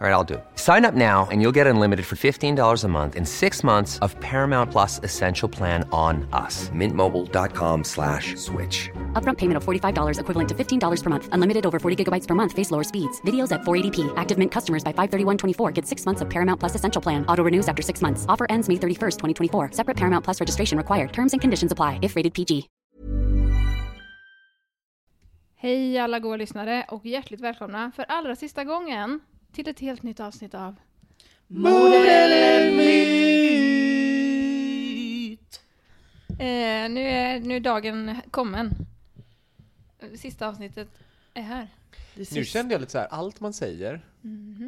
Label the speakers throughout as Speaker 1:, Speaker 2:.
Speaker 1: All right, I'll do it. Sign up now and you'll get unlimited for $15 a month in six months of Paramount Plus Essential Plan on us. Mintmobile.com slash switch.
Speaker 2: Upfront payment of $45 equivalent to $15 per month. Unlimited over 40 gigabytes per month. Face lower speeds. Videos at 480p. Active Mint customers by 531.24 get six months of Paramount Plus Essential Plan. Auto renews after six months. Offer ends May 31st, 2024. Separate Paramount Plus registration required. Terms and conditions apply if rated PG.
Speaker 3: Hej alla goa lyssnare och hjärtligt välkomna för allra sista gången till ett helt nytt avsnitt av eh, Nu är nu är dagen kommen. Sista avsnittet är här.
Speaker 4: Nu kände jag lite så här, allt man säger,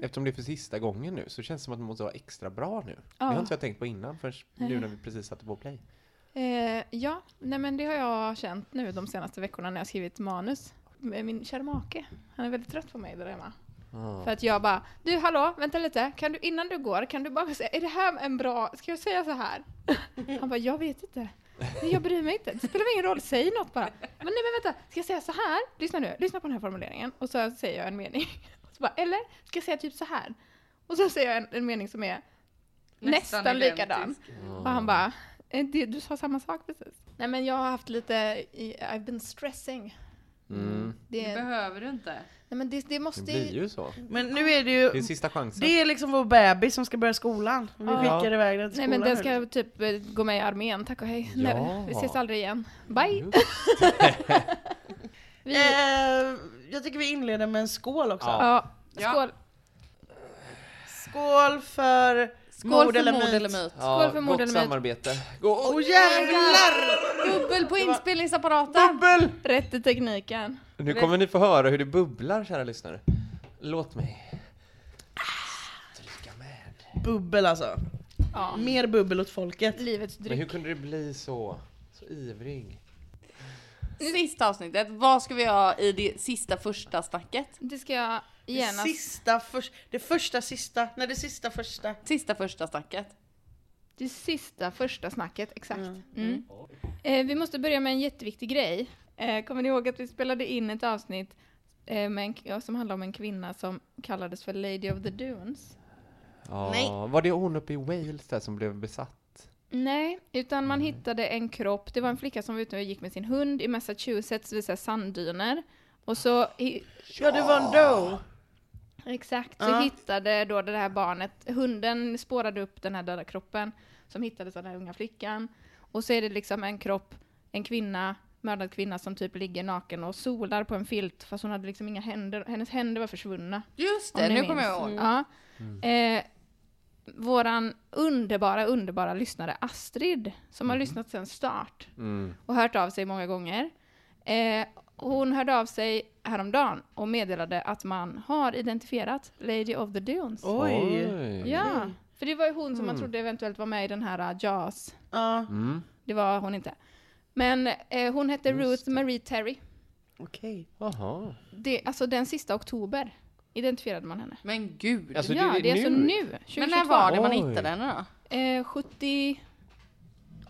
Speaker 4: eftersom det är för sista gången nu, så känns det som att man måste vara extra bra nu. Det har
Speaker 3: Ja.
Speaker 4: inte jag tänkt på innan, förrän nu när vi precis satte på play.
Speaker 3: Eh, ja, nej men det har jag känt nu de senaste veckorna när jag skrivit manus. Med Min kära make, han är väldigt trött på mig där hemma. För att jag bara, du hallå, vänta lite, kan du innan du går, kan du bara säga, är det här en bra, ska jag säga så här? Han bara, jag vet inte. Nej, jag bryr mig inte. Det spelar ingen roll, säg något bara. Men nej men vänta, ska jag säga så här? Lyssna nu, lyssna på den här formuleringen. Och så säger jag en mening. Och så bara, eller? Ska jag säga typ så här? Och så säger jag en, en mening som är nästan,
Speaker 5: identisk.
Speaker 3: likadan. Och han bara, "Eh, det, du sa samma sak precis. Nej men jag har haft lite, i- I've been stressing.
Speaker 5: Det
Speaker 3: Mm. Det,
Speaker 5: behöver du inte.
Speaker 3: nej men det, det
Speaker 4: Mm. Det
Speaker 3: måste
Speaker 4: blir ju så.
Speaker 6: Men nu är det
Speaker 4: Det är
Speaker 6: ju,
Speaker 4: sista chansen.
Speaker 6: det är liksom vår bebis som ska börja skolan. Vi skickar iväg den till
Speaker 3: Nej
Speaker 6: skolan
Speaker 3: men den
Speaker 6: nu.
Speaker 3: ska typ eh, gå med i armén, tack och hej. Nej, vi ses
Speaker 4: Ja.
Speaker 3: aldrig igen. Bye!
Speaker 4: Just.
Speaker 3: Vi,
Speaker 6: Eh, jag tycker vi inleder med en skål också.
Speaker 4: Ja.
Speaker 3: ja,
Speaker 5: Ja.
Speaker 3: skål.
Speaker 6: Skål för
Speaker 5: Skål
Speaker 6: mod
Speaker 5: för
Speaker 6: eller
Speaker 5: mod
Speaker 6: myt.
Speaker 5: eller myt.
Speaker 3: Skål för mord
Speaker 4: gott
Speaker 3: eller myt.
Speaker 4: samarbete. Gå-
Speaker 6: Åh jävlar!
Speaker 5: Bubbel på inspelningsapparaten!
Speaker 4: Bubbel!
Speaker 3: Rätt i tekniken.
Speaker 4: Nu kommer ni få höra hur det bubblar, kära lyssnare. Låt mig. Dricka med.
Speaker 6: Bubbel alltså.
Speaker 3: Ja.
Speaker 6: Mer bubbel åt folket.
Speaker 3: Livets
Speaker 4: Men hur
Speaker 3: dryck.
Speaker 4: kunde det bli så? Så ivrig.
Speaker 5: Sista avsnittet, vad ska vi ha i det sista första snacket?
Speaker 3: Det ska jag gärna...
Speaker 6: Sista först, det första sista, nej det sista första.
Speaker 5: Sista första snacket.
Speaker 3: Det sista första snacket, exakt. Mm. Eh, vi måste börja med en jätteviktig grej. Eh, kommer ni ihåg att vi spelade in ett avsnitt eh, med en, ja, som handlade om en kvinna som kallades för Lady of the Dunes?
Speaker 4: Ja,
Speaker 6: Nej.
Speaker 4: Var det hon uppe i Wales där som blev besatt?
Speaker 3: Nej, utan man hittade en kropp. Det var en flicka som var ute och gick med sin hund i Massachusetts vid så här sanddyner. Och så i,
Speaker 6: Ja det var en doe.
Speaker 3: Exakt, så hittade då det här barnet, hunden spårade upp den här döda kroppen som hittades av den här unga flickan. Och så är det liksom en kropp, en kvinna, mördad kvinna som typ ligger naken och solar på en filt fast hon hade liksom inga händer, hennes händer var försvunna.
Speaker 5: Just
Speaker 3: om
Speaker 5: det,
Speaker 3: ni
Speaker 5: nu kommer
Speaker 3: minns.
Speaker 5: jag ihåg.
Speaker 3: Ja.
Speaker 4: Mm.
Speaker 3: Eh, våran underbara, underbara lyssnare Astrid, som
Speaker 4: Mm.
Speaker 3: har lyssnat sedan start och hört av sig många gånger. Eh, hon hörde av sig häromdagen och meddelade att man har identifierat Lady of the Dunes.
Speaker 6: Oj.
Speaker 3: Ja, för det var ju hon som
Speaker 4: Mm.
Speaker 3: man trodde eventuellt var med i den här uh, Jaws.
Speaker 6: Ja.
Speaker 3: Det var hon inte. Men eh, hon hette Ruth Marie Terry.
Speaker 6: Okej.
Speaker 4: Jaha.
Speaker 3: Det, alltså den sista oktober identifierade man henne.
Speaker 5: Men gud.
Speaker 4: Alltså,
Speaker 3: ja,
Speaker 4: det
Speaker 3: det
Speaker 4: är
Speaker 3: är, alltså
Speaker 4: nu.
Speaker 3: nu, 2022.
Speaker 5: men när var det man
Speaker 4: Oj.
Speaker 5: hittade henne då?
Speaker 3: Eh, 78?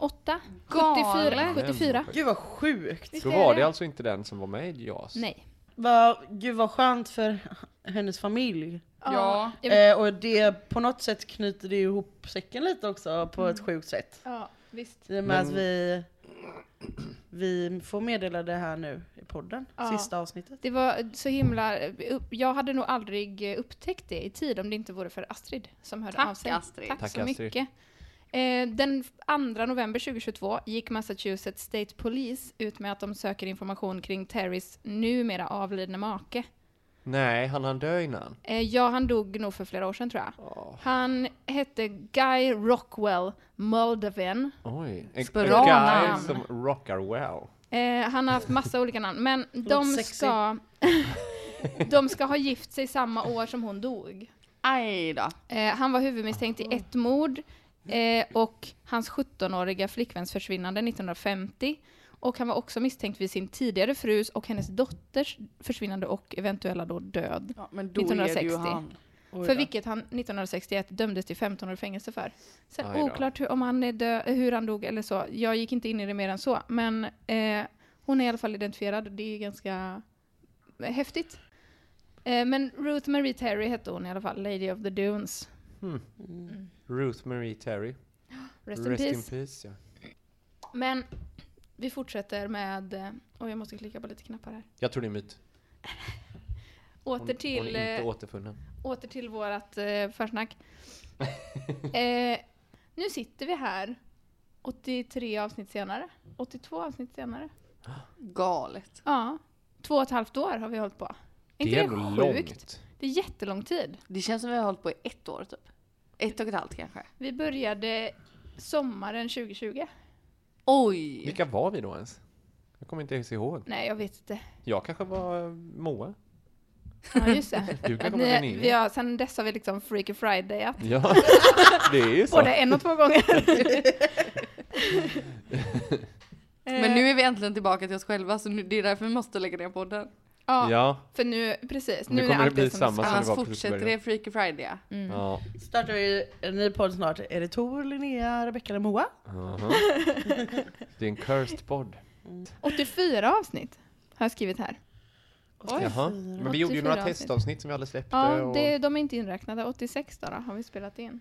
Speaker 3: 74?
Speaker 5: Galet.
Speaker 3: 74?
Speaker 6: Gud vad sjukt.
Speaker 4: Då var det alltså inte den som var med i JAS?
Speaker 3: Nej.
Speaker 6: Vad, gud vad skönt för hennes familj.
Speaker 5: Ja.
Speaker 3: jag vet-
Speaker 6: Eh, och det på något sätt knyter det ihop säcken lite också på ett sjukt sätt.
Speaker 3: ja, visst.
Speaker 6: I och med att vi, vi får meddela det här nu i podden,
Speaker 3: Ja.
Speaker 6: sista avsnittet.
Speaker 3: Det var så himla... Jag hade nog aldrig eh, upptäckt det i tid om det inte vore för Astrid som hörde
Speaker 5: Tack,
Speaker 3: av sig.
Speaker 5: Astrid.
Speaker 3: Tack,
Speaker 4: Tack,
Speaker 3: så
Speaker 4: Astrid.
Speaker 3: mycket. Eh, Den 2 november 2022 gick Massachusetts State Police ut med att de söker information kring Terrys numera avlidne make.
Speaker 4: Nej, han han dö innan?
Speaker 3: Eh, ja, han dog nog för flera år sedan tror jag. Han hette Guy Rockwell Moldovan.
Speaker 4: Oj. En, en
Speaker 5: Bra
Speaker 4: guy
Speaker 5: namn.
Speaker 4: som rockar well.
Speaker 3: Eh, han har haft massa olika namn, men de
Speaker 6: sexy.
Speaker 3: ska, de ska ha gift sig samma år som hon dog.
Speaker 5: Aj då.
Speaker 3: Eh, han var huvudmisstänkt i ett mord eh, och hans 17-åriga flickväns försvinnande 1950. Och han var också misstänkt vid sin tidigare frus och hennes dotters försvinnande och eventuella då död.
Speaker 5: Ja, men då är det ju
Speaker 3: 1960.
Speaker 5: han.
Speaker 6: Oj
Speaker 3: För
Speaker 6: då.
Speaker 3: vilket han 1961 dömdes till 15 år i fängelse för. Sen
Speaker 4: Aj då.
Speaker 3: oklart hur, om han är dö- hur han dog eller så. Jag gick inte in i det mer än så. Men eh, hon är i alla fall identifierad och det är ganska häftigt. Eh, men Ruth Marie Terry hette hon i alla fall, Lady of the Dunes.
Speaker 4: Ruth Marie Terry.
Speaker 3: Rest, in, peace.
Speaker 4: peace, ja.
Speaker 3: Men vi fortsätter med... eh, Oj, jag måste klicka på lite knappar här.
Speaker 4: Jag tror det är en myt. Hon,
Speaker 3: Åter
Speaker 4: hon
Speaker 3: till...
Speaker 4: är
Speaker 3: eh,
Speaker 4: inte återfunnen.
Speaker 3: åter till vårat eh, försnack. eh, nu sitter vi här 83 avsnitt senare. 82 avsnitt senare.
Speaker 5: Galet.
Speaker 3: Ja. Två och ett halvt år har vi hållit på. Är inte det, sjukt? Det är jättelång tid.
Speaker 5: Det känns som vi har hållit på i ett år typ. Ett och ett halvt kanske.
Speaker 3: Vi började sommaren 2020.
Speaker 5: Oj!
Speaker 4: Vilka var vi då ens? Jag kommer inte ens ihåg.
Speaker 3: Nej, jag vet inte.
Speaker 4: Jag kanske var eh, Moa.
Speaker 3: Ja, just det.
Speaker 4: Du kanske var
Speaker 3: Ni, vi
Speaker 4: Linnea.
Speaker 3: har, sen dess har vi liksom Freaky Friday
Speaker 4: Ja, det är ju så.
Speaker 3: både en och två gånger. Eh,
Speaker 5: Men nu är vi äntligen tillbaka till oss själva så nu, det är därför vi måste lägga ner podden.
Speaker 3: Ja,
Speaker 4: Ja,
Speaker 3: för nu, precis.
Speaker 4: Nu
Speaker 3: Nu,
Speaker 4: kommer
Speaker 3: är
Speaker 4: det
Speaker 3: allt
Speaker 4: bli
Speaker 3: som
Speaker 4: samma
Speaker 3: ska.
Speaker 4: som
Speaker 5: Annars
Speaker 4: det var på
Speaker 5: fortsätter
Speaker 4: Sjuksberg.
Speaker 5: det Freaky Friday.
Speaker 4: ja.
Speaker 6: Startar vi en ny podd snart. Är det Tor, Linnea, Rebecca eller Moa?
Speaker 4: aha. Det är en cursed podd.
Speaker 3: 84 avsnitt har jag skrivit här.
Speaker 4: Jaha. Men vi gjorde ju
Speaker 3: 84
Speaker 4: några
Speaker 3: avsnitt.
Speaker 4: testavsnitt som vi aldrig släppte.
Speaker 3: Ja,
Speaker 4: och...
Speaker 3: det, de är inte inräknade. 86 då, då har vi spelat in.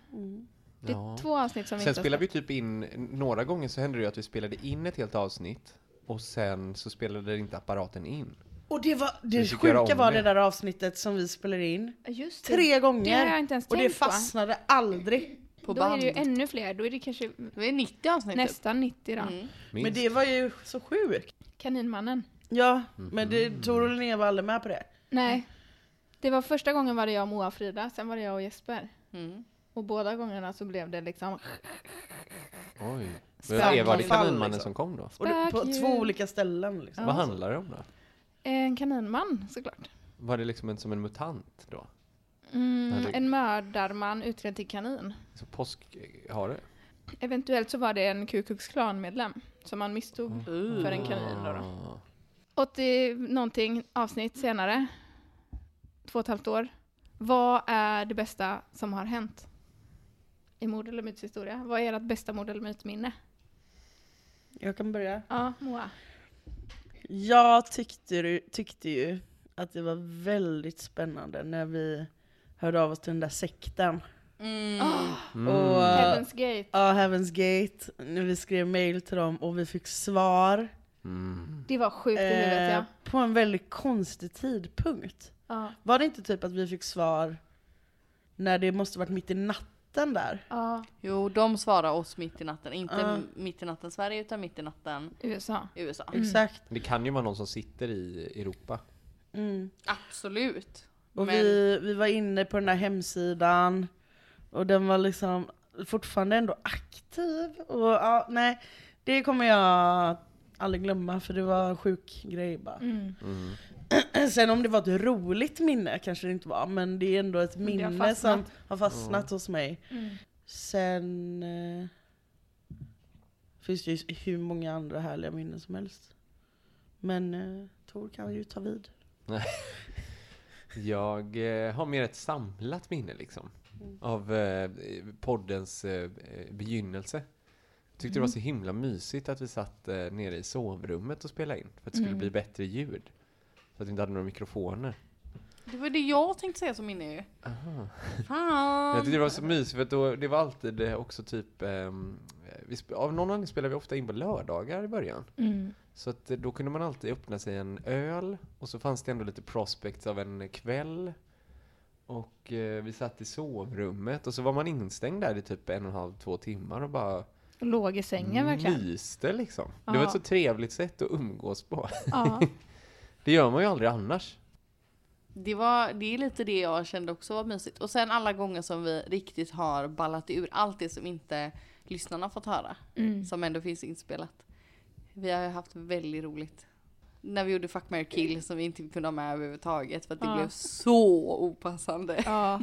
Speaker 3: Det är
Speaker 4: Ja.
Speaker 3: två avsnitt som vi
Speaker 4: Sen
Speaker 3: inte har
Speaker 4: spelade vi typ in, några gånger så hände det ju att vi spelade in ett helt avsnitt och sen så spelade inte apparaten in.
Speaker 6: Och det, var,
Speaker 4: Vi
Speaker 6: det
Speaker 4: fick göra
Speaker 6: sjuka
Speaker 4: om
Speaker 6: var
Speaker 4: det.
Speaker 6: det där avsnittet som vi spelade in.
Speaker 3: spelat. Just det.
Speaker 6: Tre gånger!
Speaker 3: Det har jag inte ens
Speaker 6: och det
Speaker 3: tänkt på.
Speaker 6: fastnade aldrig.
Speaker 5: På
Speaker 3: Då är
Speaker 5: band.
Speaker 3: det ju ännu fler. Då är det kanske
Speaker 5: Vi är 90 avsnitt typ.
Speaker 3: nästan 90 då.
Speaker 6: Men det var ju så sjukt.
Speaker 3: Kaninmannen.
Speaker 6: Ja, men
Speaker 4: Mm.
Speaker 6: det, Tor och Linnea var aldrig med på det.
Speaker 3: Nej. Det var första gången var det jag, Moa och Frida. Sen var det jag och Jesper. Och båda gångerna så blev det liksom...
Speaker 4: Oj.
Speaker 3: Spöken.
Speaker 4: Men var det
Speaker 6: Fall,
Speaker 4: kaninmannen
Speaker 6: liksom.
Speaker 4: som kom då?
Speaker 6: Och det, på
Speaker 3: Fuck you.
Speaker 6: två olika ställen liksom.
Speaker 4: Vad handlar det om då?
Speaker 3: En kaninman såklart.
Speaker 4: Var det liksom en, som en mutant då?
Speaker 3: Mm,
Speaker 4: det-
Speaker 3: en mördarman utredd till kanin.
Speaker 4: Så påsk eh, har det?
Speaker 3: Eventuellt så var det en Ku Klux Klan-medlem som man misstog för en kanin. Då, då.
Speaker 4: Ah.
Speaker 3: 80 någonting avsnitt senare, två och ett halvt år. Vad är det bästa som har hänt i mord eller myts historia? Vad är ert bästa mord eller mytminne?
Speaker 6: Jag kan börja.
Speaker 3: Ja, Moa.
Speaker 6: Jag tyckte, tyckte ju att det var väldigt spännande när vi hörde av oss till den där sekten. Och,
Speaker 3: Heaven's Gate.
Speaker 6: ja, Heaven's Gate, när vi skrev mail till dem och vi fick svar.
Speaker 3: Det var sjukt i huvudet
Speaker 6: Eh,
Speaker 3: ja.
Speaker 6: på en väldigt konstig tidpunkt.
Speaker 3: Ja,
Speaker 6: Var det inte typ att vi fick svar när det måste varit mitt i natten där?
Speaker 3: ja
Speaker 5: Jo, de svarar oss mitt i natten. Inte
Speaker 6: Ja.
Speaker 5: mitt i natten Sverige utan mitt i natten
Speaker 3: USA.
Speaker 5: USA.
Speaker 6: Exakt.
Speaker 4: Det kan ju vara någon som sitter i Europa.
Speaker 5: Absolut.
Speaker 6: Och
Speaker 5: Men-
Speaker 6: vi, vi var inne på den där hemsidan och den var liksom fortfarande ändå aktiv. Och ja, nej, det kommer jag aldrig glömma för det var en sjuk grej bara.
Speaker 3: Mm.
Speaker 6: Sen om det var ett roligt minne kanske det inte var, men det är ändå ett
Speaker 3: det har
Speaker 6: minne
Speaker 3: fastnat.
Speaker 6: som har fastnat hos mig. Sen eh, finns det ju hur många andra härliga minnen som helst. Men eh, Tor kan ju ta vid.
Speaker 4: Jag eh, har mer ett samlat minne liksom.
Speaker 6: Mm.
Speaker 4: Av eh, poddens eh, begynnelse. Tyckte
Speaker 6: Mm.
Speaker 4: det var så himla mysigt att vi satt eh, nere i sovrummet och spelade in. För att det
Speaker 6: Mm.
Speaker 4: skulle bli bättre ljud. Så att vi inte hade några mikrofoner.
Speaker 5: Det var det jag tänkte säga som minne ju.
Speaker 4: Jag
Speaker 5: Fan.
Speaker 4: tyckte det var så mysigt för att då, det var alltid eh, också typ, ehm, vi sp- av någon anledning spelade vi ofta in på lördagar i början.
Speaker 3: Mm.
Speaker 4: Så att eh, då kunde man alltid öppna sig en öl och så fanns det ändå lite prospects av en kväll. Och eh, vi satt i sovrummet och så var man instängd där i typ en och en halv, två timmar och bara
Speaker 3: Låg i sängen verkligen.
Speaker 4: myste liksom. Det
Speaker 3: Ja.
Speaker 4: var ett så trevligt sätt att umgås på.
Speaker 3: Ja.
Speaker 4: Det gör man ju aldrig annars.
Speaker 5: Det, var, det är lite det jag kände också var mysigt. Och sen alla gånger som vi riktigt har ballat ur allt det som inte lyssnarna har fått höra. Som ändå finns inspelat. Vi har ju haft väldigt roligt. När vi gjorde Fuck, marry, kill som vi inte kunde ha med överhuvudtaget för att det
Speaker 3: Ja.
Speaker 5: blev så opassande.
Speaker 3: Ja.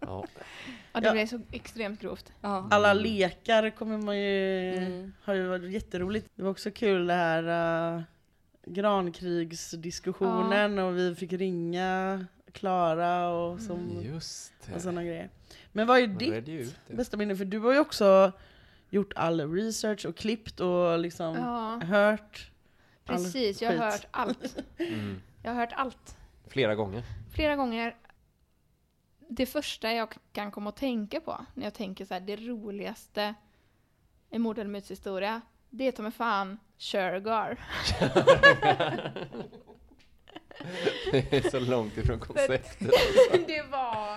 Speaker 4: Ja.
Speaker 3: ja, det
Speaker 6: Ja.
Speaker 3: blev så extremt grovt.
Speaker 5: Ja.
Speaker 6: Alla lekar kommer man ju...
Speaker 5: Mm.
Speaker 6: Har ju varit jätteroligt. Det var också kul det här eh, grankrigsdiskussionen och vi fick ringa Klara och,
Speaker 3: Mm.
Speaker 6: som,
Speaker 4: Just det.
Speaker 6: och sådana grejer. Men vad är
Speaker 4: Man
Speaker 6: Alltså, ditt
Speaker 4: redde ju ut det.
Speaker 6: bästa minne? För du har ju också gjort all research och klippt och liksom
Speaker 3: Ja,
Speaker 6: hört. all
Speaker 3: precis. Jag har
Speaker 6: skit.
Speaker 3: hört allt.
Speaker 4: Mm.
Speaker 3: Jag har hört allt.
Speaker 4: Flera gånger.
Speaker 3: Flera gånger. Det första jag kan komma att tänka på när jag tänker så här, det roligaste i mord eller mythistoria, det är ta mig fan Shergar.
Speaker 4: Det är så långt ifrån konceptet.
Speaker 3: det var...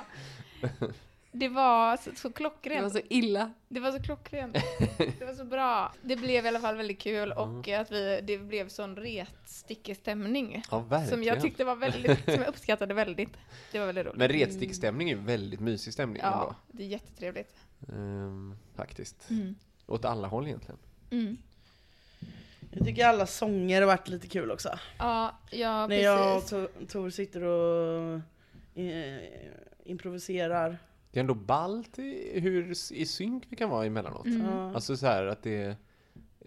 Speaker 3: Det var så, så
Speaker 5: Det var
Speaker 3: klockrent.
Speaker 5: så illa.
Speaker 3: Det var så klockrent. Det var så bra. Det blev i alla fall väldigt kul och att vi, det blev sån retstickstämning.
Speaker 4: Ja, verkligen.
Speaker 3: Som jag tyckte var väldigt, som jag uppskattade väldigt. Det var väldigt roligt.
Speaker 4: Men retstickstämning är ju väldigt mysig stämning
Speaker 3: Ja,
Speaker 4: ändå.
Speaker 3: det är jättetrevligt.
Speaker 4: Ehm, faktiskt.
Speaker 6: Mm.
Speaker 4: Åt alla håll egentligen.
Speaker 3: Mm.
Speaker 6: Jag tycker alla sånger har varit lite kul också.
Speaker 3: Ja, ja
Speaker 6: När jag och
Speaker 3: precis.
Speaker 6: Tor- Tor sitter och eh, improviserar.
Speaker 4: Det är ändå ballt i, hur s- i synk vi kan vara emellanåt.
Speaker 6: Ja.
Speaker 4: Alltså så här att det,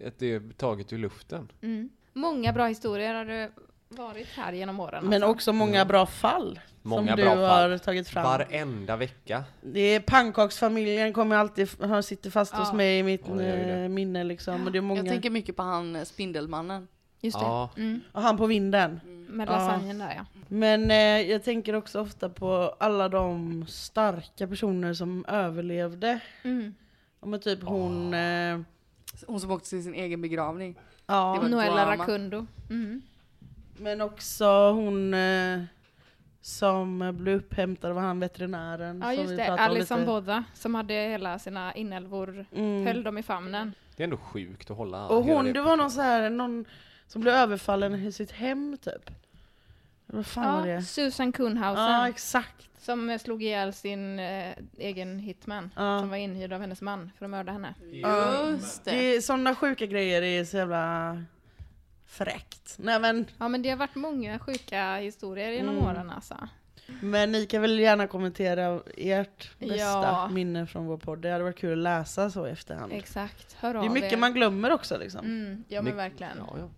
Speaker 4: att det är taget ur luften.
Speaker 3: Mm. Många bra historier har det varit här genom åren.
Speaker 6: Men
Speaker 3: alltså.
Speaker 6: också många bra fall
Speaker 4: Många
Speaker 6: som du
Speaker 4: bra
Speaker 6: har
Speaker 4: fall.
Speaker 6: tagit fram.
Speaker 4: Varenda vecka.
Speaker 6: Det är pannkaksfamiljen kommer alltid, han sitter fast hos
Speaker 3: Ja.
Speaker 6: mig i mitt
Speaker 4: Ja, det gör ju det.
Speaker 6: eh, minne liksom. Och det är många.
Speaker 5: Jag tänker mycket på han eh, Spindelmannen.
Speaker 3: Just det.
Speaker 4: Ja.
Speaker 3: Mm.
Speaker 6: Och han på vinden.
Speaker 3: Med
Speaker 6: Ja.
Speaker 3: lasagnen där ja.
Speaker 6: Men eh, jag tänker också ofta på alla de starka personer som överlevde.
Speaker 3: Mm.
Speaker 6: Ja, Men typ hon,
Speaker 4: Ah.
Speaker 6: eh,
Speaker 5: Hon som åkte till sin egen begravning.
Speaker 6: ja.
Speaker 5: var
Speaker 3: Noella
Speaker 5: drama.
Speaker 3: Rakundo. Mm.
Speaker 6: Men också hon eh, som blev upphämtad av han veterinären.
Speaker 3: Ja
Speaker 6: som
Speaker 3: just
Speaker 6: vi
Speaker 3: det,
Speaker 6: pratade om
Speaker 3: Alison
Speaker 6: lite.
Speaker 3: Bodda som hade hela sina inälvor,
Speaker 6: Mm.
Speaker 3: höll dem i famnen.
Speaker 4: Det är ändå sjukt att hålla
Speaker 6: Och
Speaker 4: hela
Speaker 6: hon, det var någon så här, någon som blev överfallen i sitt hem typ. Vad fan var
Speaker 3: Ja,
Speaker 6: det?
Speaker 3: Susan Kuhnhausen
Speaker 6: Ja exakt.
Speaker 3: som eh, slog ihjäl sin eh, egen hitman
Speaker 6: Ja.
Speaker 3: som var inhyrd av hennes man för att mörda henne.
Speaker 5: Just
Speaker 6: Det är, sådana sjuka grejer är så jävla fräckt. Nej, men,
Speaker 3: Ja men det har varit många sjuka historier genom
Speaker 6: Mm.
Speaker 3: åren alltså.
Speaker 6: men ni kan väl gärna kommentera ert bästa
Speaker 3: Ja.
Speaker 6: minne från vår podd. Det hade varit kul att läsa så i efterhand.
Speaker 3: Exakt, hör
Speaker 6: det är
Speaker 3: av
Speaker 6: mycket
Speaker 3: er.
Speaker 6: man glömmer också liksom.
Speaker 3: Mm, ja men verkligen.
Speaker 4: Ja, ja.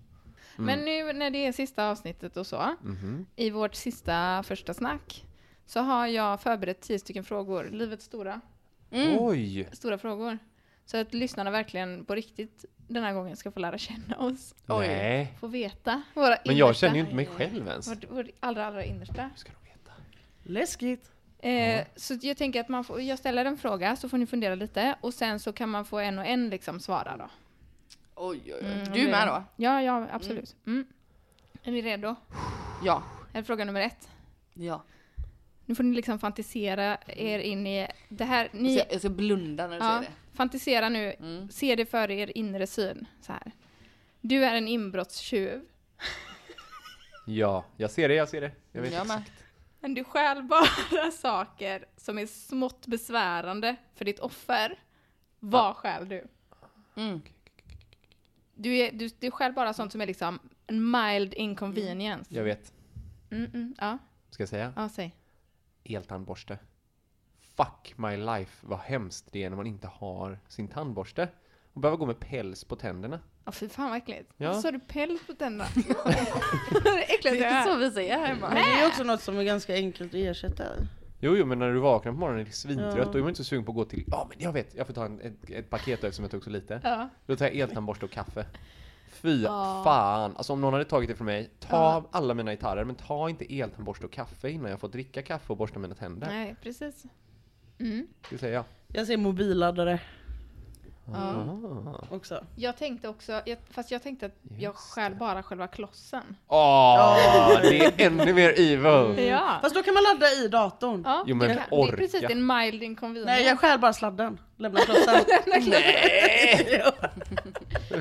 Speaker 3: Men nu när det är sista avsnittet och så,
Speaker 6: Mm.
Speaker 3: i vårt sista första snack, så har jag förberett tio stycken frågor, livets stora,
Speaker 4: Oj!
Speaker 3: stora frågor. Så att lyssnarna verkligen på riktigt den här gången ska få lära känna oss.
Speaker 4: Nej.
Speaker 3: Få veta våra
Speaker 4: Men jag känner ju inte mig själv ens.
Speaker 3: Vårt, vårt allra, allra innersta.
Speaker 4: Hur ska de veta?
Speaker 6: Läskigt.
Speaker 3: Eh, så jag tänker att man får, jag ställer en fråga så får ni fundera lite och sen så kan man få en och en liksom svara då. Mm.
Speaker 5: Oj, oj, oj. Mm. du är med då?
Speaker 3: Ja, ja absolut. Mm. Är ni redo?
Speaker 5: Ja.
Speaker 3: Är fråga nummer ett.
Speaker 5: ja.
Speaker 3: Nu får ni liksom fantisera er in i det här.
Speaker 5: Jag,
Speaker 3: Ni,
Speaker 5: ska, jag ska blunda när du
Speaker 3: ja,
Speaker 5: säger det.
Speaker 3: fantisera nu. Se det för er inre syn. Så här. Du är en inbrottstjuv.
Speaker 4: Ja, jag ser det, jag ser det. Jag vet
Speaker 5: Jag med.
Speaker 4: exakt.
Speaker 3: Men du stjäl bara saker som är smått besvärande för ditt offer. Vad stjäl du?
Speaker 5: Mm.
Speaker 3: Du, är, du, du stjäl bara sånt som är liksom en mild inconvenience.
Speaker 4: Jag vet.
Speaker 3: Mm, mm, ja,
Speaker 4: Ska jag säga?
Speaker 3: ja, säg.
Speaker 4: Eltandborste. Fuck my life, vad hemskt det är när man inte har sin tandborste. Och behöver gå med päls på tänderna.
Speaker 3: Ja, fy fan vad äckligt.
Speaker 4: Ja.
Speaker 3: Så har du päls på tänderna. det är det
Speaker 5: Det
Speaker 3: äckligaste jag
Speaker 5: är
Speaker 3: hört.
Speaker 5: så vi säger här hemma.
Speaker 6: Men det är ju också något som är ganska enkelt att ersätta.
Speaker 4: Jo, jo, men när du vaknar på morgonen är det svintrött,
Speaker 6: Ja.
Speaker 4: då är man inte så sugen på att gå till... Ja, men jag vet, jag får ta en, ett, ett paket eftersom jag tog så lite.
Speaker 3: Ja.
Speaker 4: Då tar jag eltandborste och kaffe. Fy
Speaker 3: Ja.
Speaker 4: fan! Alltså om någon hade tagit det från mig, ta alla mina gitarrer, men ta inte eltandborste och kaffe innan jag får dricka kaffe och borsta mina tänder.
Speaker 3: Nej, precis. Mm.
Speaker 4: Det säger jag.
Speaker 6: Jag säger mobilladdare
Speaker 3: Ja.
Speaker 4: Ah.
Speaker 6: också.
Speaker 3: Jag tänkte också, jag, fast jag tänkte att jag
Speaker 4: Just
Speaker 3: stjäl bara själva klossen.
Speaker 4: Åh, det är ännu mer evil!
Speaker 3: Ja.
Speaker 6: Mm. Fast då kan man ladda i datorn.
Speaker 3: ja.
Speaker 4: Jo, men
Speaker 3: det kan- Det
Speaker 4: orka.
Speaker 3: är precis en mild inconvenience.
Speaker 6: Nej jag stjäl bara sladden. Lämnar klossen. Nej!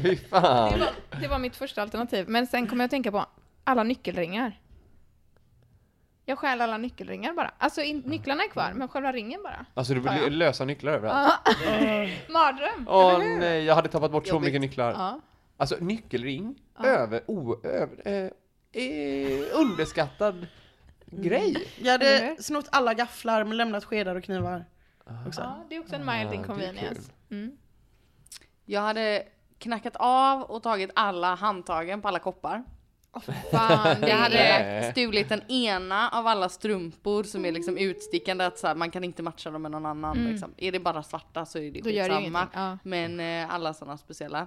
Speaker 4: Fy fan!
Speaker 3: det, var, det var mitt första alternativ. Men sen kom jag att tänka på alla nyckelringar. Jag stjäl alla nyckelringar bara. Alltså in, nycklarna är kvar, men själva ringen bara.
Speaker 4: Alltså du vill
Speaker 3: Ja, ja.
Speaker 4: lösa nycklar överallt.
Speaker 3: Mardröm!
Speaker 4: Åh
Speaker 3: eller hur?
Speaker 4: nej, jag hade tappat bort så
Speaker 5: Jobbigt.
Speaker 4: mycket nycklar.
Speaker 3: Ja.
Speaker 4: Alltså nyckelring, över, o, över, eh, eh, underskattad grej.
Speaker 6: Jag
Speaker 3: Eller
Speaker 6: hade
Speaker 3: hur?
Speaker 6: snott alla gafflar men lämnat skedar och knivar. Också.
Speaker 3: ja, det är också en mild
Speaker 4: det är
Speaker 3: inconvenience. Mm.
Speaker 5: Jag hade knackat av och tagit alla handtagen på alla koppar.
Speaker 3: Fan, det hade
Speaker 5: Jag hade
Speaker 4: Nej.
Speaker 5: stulit den ena av alla strumpor som är liksom utstickande, att så här, man kan inte matcha dem med någon annan. Liksom. Är det bara svarta så är det
Speaker 3: Då gör det ju
Speaker 5: skitsamma.
Speaker 3: ingenting, ja.
Speaker 5: Men eh, alla sådana speciella.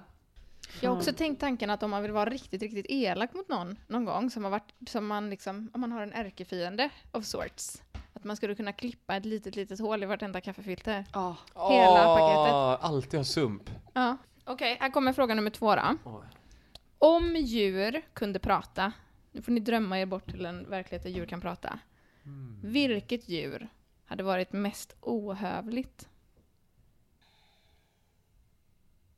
Speaker 3: Jag har också tänkt tanken att om man vill vara riktigt, riktigt elak mot någon någon gång som har varit, som man liksom, om man har en ärkefiende of sorts, att man skulle kunna klippa ett litet, litet hål i vartenda kaffefilter.
Speaker 5: Ja.
Speaker 3: Mm. Hela
Speaker 4: Åh,
Speaker 3: paketet.
Speaker 4: Alltid ha sump.
Speaker 3: Ja. Okej, här kommer fråga nummer två då.
Speaker 4: Oj.
Speaker 3: Om djur kunde prata, nu får ni drömma er bort till en verklighet där djur kan prata.
Speaker 4: Hmm.
Speaker 3: Vilket djur hade varit mest ohövligt?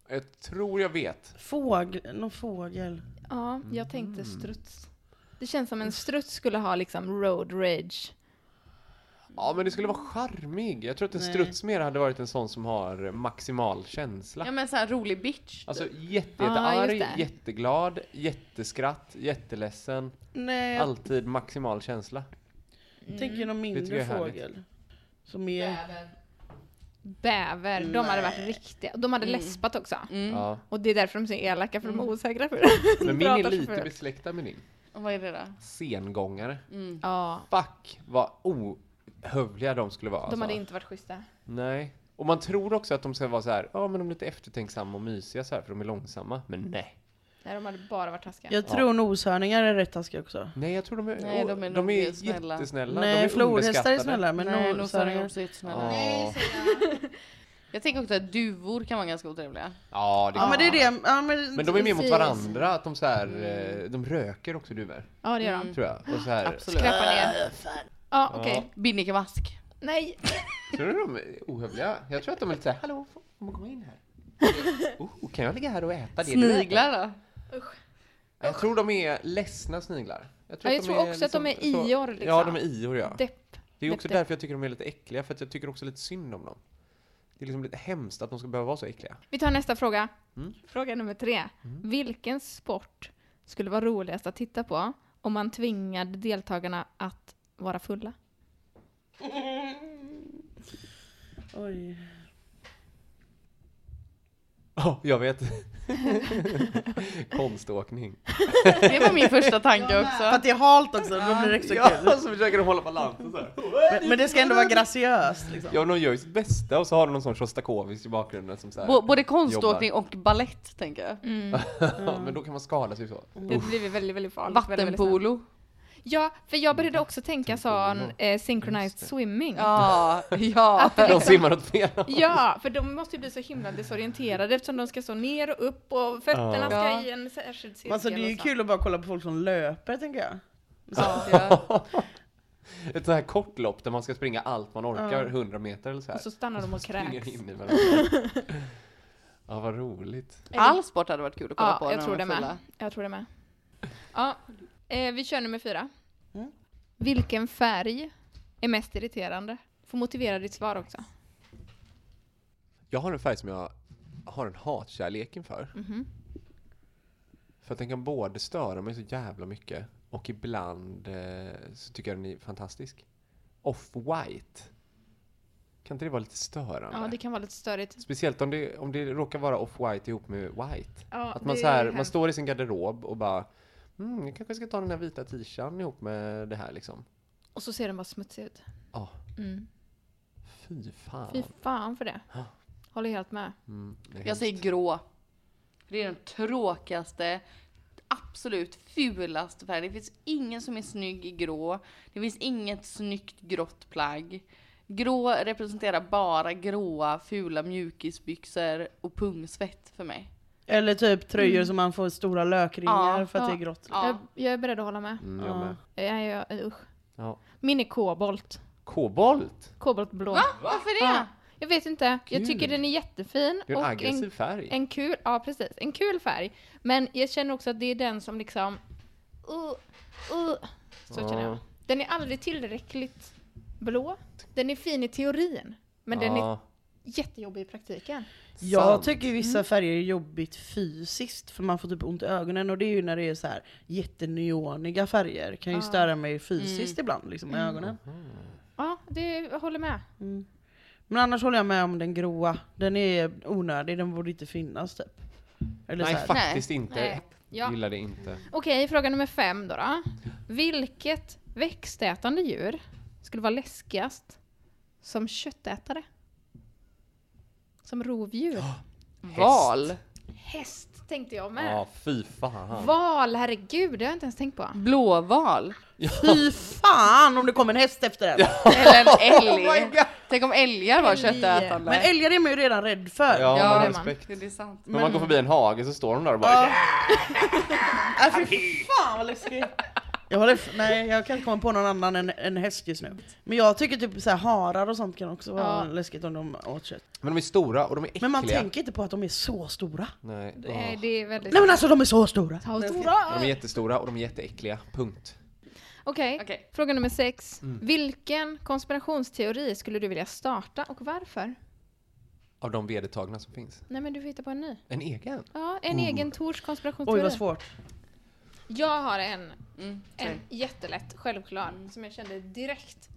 Speaker 4: Jag tror jag vet.
Speaker 6: Fågel, någon fågel.
Speaker 3: Ja,
Speaker 4: Mm.
Speaker 3: jag tänkte struts. Det känns som en struts skulle ha liksom road rage.
Speaker 4: Ja, men det skulle vara charmig. Jag tror att en struts mer hade varit en sån som har maximal känsla.
Speaker 5: ja men såhär rolig bitch. typ.
Speaker 4: Alltså
Speaker 3: Ah,
Speaker 4: jättejättearg,
Speaker 3: just det.
Speaker 4: jätteglad, jätteskratt, jätteledsen.
Speaker 6: Nej, jag
Speaker 4: Alltid maximal känsla.
Speaker 6: tänker någon
Speaker 4: Det tycker jag
Speaker 6: mindre
Speaker 4: är härligt.
Speaker 6: fågel. Som är...
Speaker 3: Bäver, de hade varit riktiga. De hade läspat också.
Speaker 4: Ja.
Speaker 3: Och det är därför de är så elaka, för de är osäkra på det.
Speaker 4: Men
Speaker 3: De
Speaker 4: min är
Speaker 3: pratar så
Speaker 4: lite
Speaker 3: fult.
Speaker 4: besläktad med din.
Speaker 5: Och Vad är det då?
Speaker 4: Sengångare.
Speaker 3: Ja,
Speaker 4: Fuck vad ohövliga de skulle vara.
Speaker 3: de
Speaker 4: alltså.
Speaker 3: hade inte varit schyssta.
Speaker 4: Nej. Och man tror också att de ska vara så här, ja men de är lite eftertänksamma och mysiga så här för de är långsamma. Men nej.
Speaker 3: Nej, de hade bara varit taskiga.
Speaker 6: Jag tror noshörningar är rätt taskiga också.
Speaker 4: Nej jag tror de är,
Speaker 5: Nej,
Speaker 4: och
Speaker 5: de är
Speaker 4: de
Speaker 5: nog
Speaker 4: är
Speaker 5: snälla.
Speaker 4: jättesnälla. de
Speaker 6: Nej,
Speaker 4: är
Speaker 6: flodhästar är
Speaker 4: underskattade.
Speaker 6: snälla men
Speaker 5: Nej, nog sa de
Speaker 6: noshörningar...
Speaker 5: också jättesnälla.
Speaker 4: Ja.
Speaker 5: Jag tänker också att duvor kan vara ganska otrevliga.
Speaker 4: ja, det
Speaker 6: Ja men det är det. Ja,
Speaker 4: Men de är mer mot
Speaker 3: Precis.
Speaker 4: varandra, att de så här,
Speaker 5: Mm.
Speaker 4: eh, de röker också duvor,
Speaker 3: Ja, det gör de.
Speaker 4: tror jag. Och så här,
Speaker 5: Absolut.
Speaker 3: Skräpar ner. Ja, okej.
Speaker 5: Binnikemask.
Speaker 3: Nej,
Speaker 4: Tror du de är ohövliga? Jag tror att de är lite såhär, hallå, får får man komma in här? Oh, kan jag ligga här och äta det du äter?
Speaker 5: Sniglar då?
Speaker 4: Jag tror de är ledsna sniglar.
Speaker 3: Ja, jag tror också att de är ior, liksom.
Speaker 4: Ja, de är ior ja.
Speaker 3: depp.
Speaker 4: Det är också
Speaker 3: depp,
Speaker 4: därför jag tycker de är lite äckliga, för att jag tycker också lite synd om dem. Det är liksom lite hemskt att de ska behöva vara så äckliga.
Speaker 3: Vi tar nästa fråga.
Speaker 4: Mm.
Speaker 3: Fråga nummer tre. Vilken sport skulle vara roligast att titta på om man tvingade deltagarna att vara fulla?
Speaker 6: Oj.
Speaker 4: Ja, jag vet. Konståkning.
Speaker 5: Det var min första tanke
Speaker 6: För
Speaker 5: också.
Speaker 6: att det är halt också, då blir det extra kul.
Speaker 4: så försöker de hålla balansen så här.
Speaker 6: Men, men det ska ändå vara graciöst liksom.
Speaker 4: Ja, men de gör ju sitt bästa och så har de någon sån Sjostakovitj i bakgrunden som så här,
Speaker 5: Bå- Både konståkning och ballett tänker jag.
Speaker 3: Mm,
Speaker 4: Ja, men då kan man skada sig så.
Speaker 3: Det blir väldigt, väldigt farligt. Väldigt, väldigt snabbt.
Speaker 5: Vattenpolo.
Speaker 3: Ja, för jag började också tänka sån eh, synchronized swimming.
Speaker 5: Ja, ja.
Speaker 4: De simmar åt fel håll.
Speaker 3: Ja, för de måste ju bli så himla desorienterade eftersom de ska stå ner och upp och fötterna
Speaker 4: Ja.
Speaker 3: ska
Speaker 5: Ja.
Speaker 3: i en särskild cirkel.
Speaker 6: Alltså det är ju
Speaker 3: och så.
Speaker 6: kul att bara kolla på folk som löper tänker jag.
Speaker 4: Ett sånt här kort lopp där man ska springa allt man orkar, 100 meter eller så här.
Speaker 3: Och så stannar de och kräks.
Speaker 4: springer in i varandra. Ja, vad roligt.
Speaker 5: All sport hade varit kul att kolla
Speaker 3: Ja,
Speaker 5: på.
Speaker 3: jag
Speaker 5: när
Speaker 3: tror det
Speaker 5: de var fulla.
Speaker 3: med. Jag tror det med. Ja, eh, vi kör nummer fyra.
Speaker 4: Mm.
Speaker 3: Vilken färg är mest irriterande? Får motivera ditt svar också.
Speaker 4: Jag har en färg som jag har en hatkärlek inför.
Speaker 3: Mhm.
Speaker 4: För att den kan både störa mig så jävla mycket och ibland eh, så tycker jag den är fantastisk. Off-white. Kan inte det vara lite störande?
Speaker 3: Ja, det kan vara lite störigt.
Speaker 4: Speciellt om det, om det råkar vara off-white ihop med white.
Speaker 3: Ja,
Speaker 4: att man,
Speaker 3: det
Speaker 4: så här,
Speaker 3: är
Speaker 4: man
Speaker 3: hemskt.
Speaker 4: står i sin garderob och bara mm, jag kanske ska ta den här vita t-shirten ihop med det här liksom.
Speaker 3: Och så ser den bara smutsig ut.
Speaker 4: Ja,
Speaker 3: Mm.
Speaker 4: fy fan.
Speaker 3: Fy fan för det.
Speaker 4: Ja.
Speaker 3: Håller helt med.
Speaker 4: Mm, det är
Speaker 5: Jag
Speaker 4: hemskt.
Speaker 5: säger grå. Det är den tråkigaste, absolut fulaste färgen. Det finns ingen som är snygg i grå. Det finns inget snyggt grått plagg. Grå representerar bara gråa, fula mjukisbyxor och pungsvett för mig.
Speaker 6: Eller typ tröjor som man får stora lökringar
Speaker 5: Ja,
Speaker 6: för att
Speaker 3: ja.
Speaker 6: det är grått.
Speaker 5: Ja.
Speaker 3: Jag, jag är beredd att hålla med.
Speaker 4: Mm, jag med.
Speaker 3: Jag, jag, usch.
Speaker 4: Ja.
Speaker 3: Min är kobolt.
Speaker 4: Kobolt!
Speaker 3: Koboltblå.
Speaker 5: Varför det?
Speaker 3: Ja, jag vet inte.
Speaker 4: Kul.
Speaker 3: Jag tycker den är jättefin.
Speaker 4: Det är en
Speaker 3: och
Speaker 4: aggressiv
Speaker 3: en,
Speaker 4: färg.
Speaker 3: en kul, Ja, precis. En kul färg. Men jag känner också att det är den som liksom... Uh, uh, så känner jag.
Speaker 4: Ja.
Speaker 3: Den är aldrig tillräckligt blå. Den är fin i teorin, men den är
Speaker 4: Ja,
Speaker 3: jättejobbig i praktiken.
Speaker 6: Jag
Speaker 4: sant.
Speaker 6: tycker
Speaker 3: Mm.
Speaker 6: vissa färger är jobbigt fysiskt för man får typ ont i ögonen och det är ju när det är så här jätteneoniga färger kan ju
Speaker 3: Ah.
Speaker 6: störa mig fysiskt ibland liksom i
Speaker 3: Mm.
Speaker 6: ögonen.
Speaker 3: Ja, det jag håller med.
Speaker 6: Men annars håller jag med om den gråa. Den är onödig, den borde inte finnas typ. Eller
Speaker 4: Nej,
Speaker 6: så här,
Speaker 4: faktiskt inte.
Speaker 3: Nej. Ja.
Speaker 4: Gillar det inte.
Speaker 3: Okej, fråga nummer fem då, då. Vilket växtätande djur skulle vara läskigast som köttätare? Som rovdjur?
Speaker 5: Val.
Speaker 3: Häst tänkte jag med.
Speaker 4: Ja, fy fan.
Speaker 3: Val, herregud, det har jag inte ens tänkt på.
Speaker 5: Blåval.
Speaker 6: Fy fan om det kommer en häst efter den!
Speaker 5: Eller en älg.
Speaker 4: Oh my god!
Speaker 5: Tänk om älgar var
Speaker 3: Älg.
Speaker 5: köttätande.
Speaker 6: Men älgar är man ju redan rädd
Speaker 4: Ja,
Speaker 6: för.
Speaker 5: Ja,
Speaker 4: man
Speaker 5: det
Speaker 4: har
Speaker 5: är
Speaker 3: man.
Speaker 4: respekt.
Speaker 5: Ja, det är sant.
Speaker 4: När man går förbi en hage så står de där och bara
Speaker 6: Äh, fy fan vad läskigt! Jag, håller f- nej, jag kan inte komma på någon annan än en häst just nu. Men jag tycker typ så här, harar och sånt kan också vara
Speaker 3: Ja.
Speaker 6: läskigt om de åt kött.
Speaker 4: Men de är stora och de är äckliga.
Speaker 6: Men man tänker inte på att de är så stora.
Speaker 4: Nej. åh.
Speaker 3: Nej, det är väldigt...
Speaker 6: Nej men alltså de är så stora!
Speaker 3: Ta och stora.
Speaker 4: De är jättestora och de är jätteäckliga. Punkt.
Speaker 3: Okej,
Speaker 5: Okej.
Speaker 3: fråga nummer sex. Vilken konspirationsteori skulle du vilja starta och varför?
Speaker 4: Av de vedertagna som finns.
Speaker 3: Nej men du får hitta på en ny.
Speaker 4: En egen.
Speaker 3: Ja, en egen Tors konspirationsteori.
Speaker 6: Oj vad svårt.
Speaker 3: Jag har en,
Speaker 5: Mm,
Speaker 3: en
Speaker 5: säg.
Speaker 3: jättelätt, självklar, som jag kände direkt.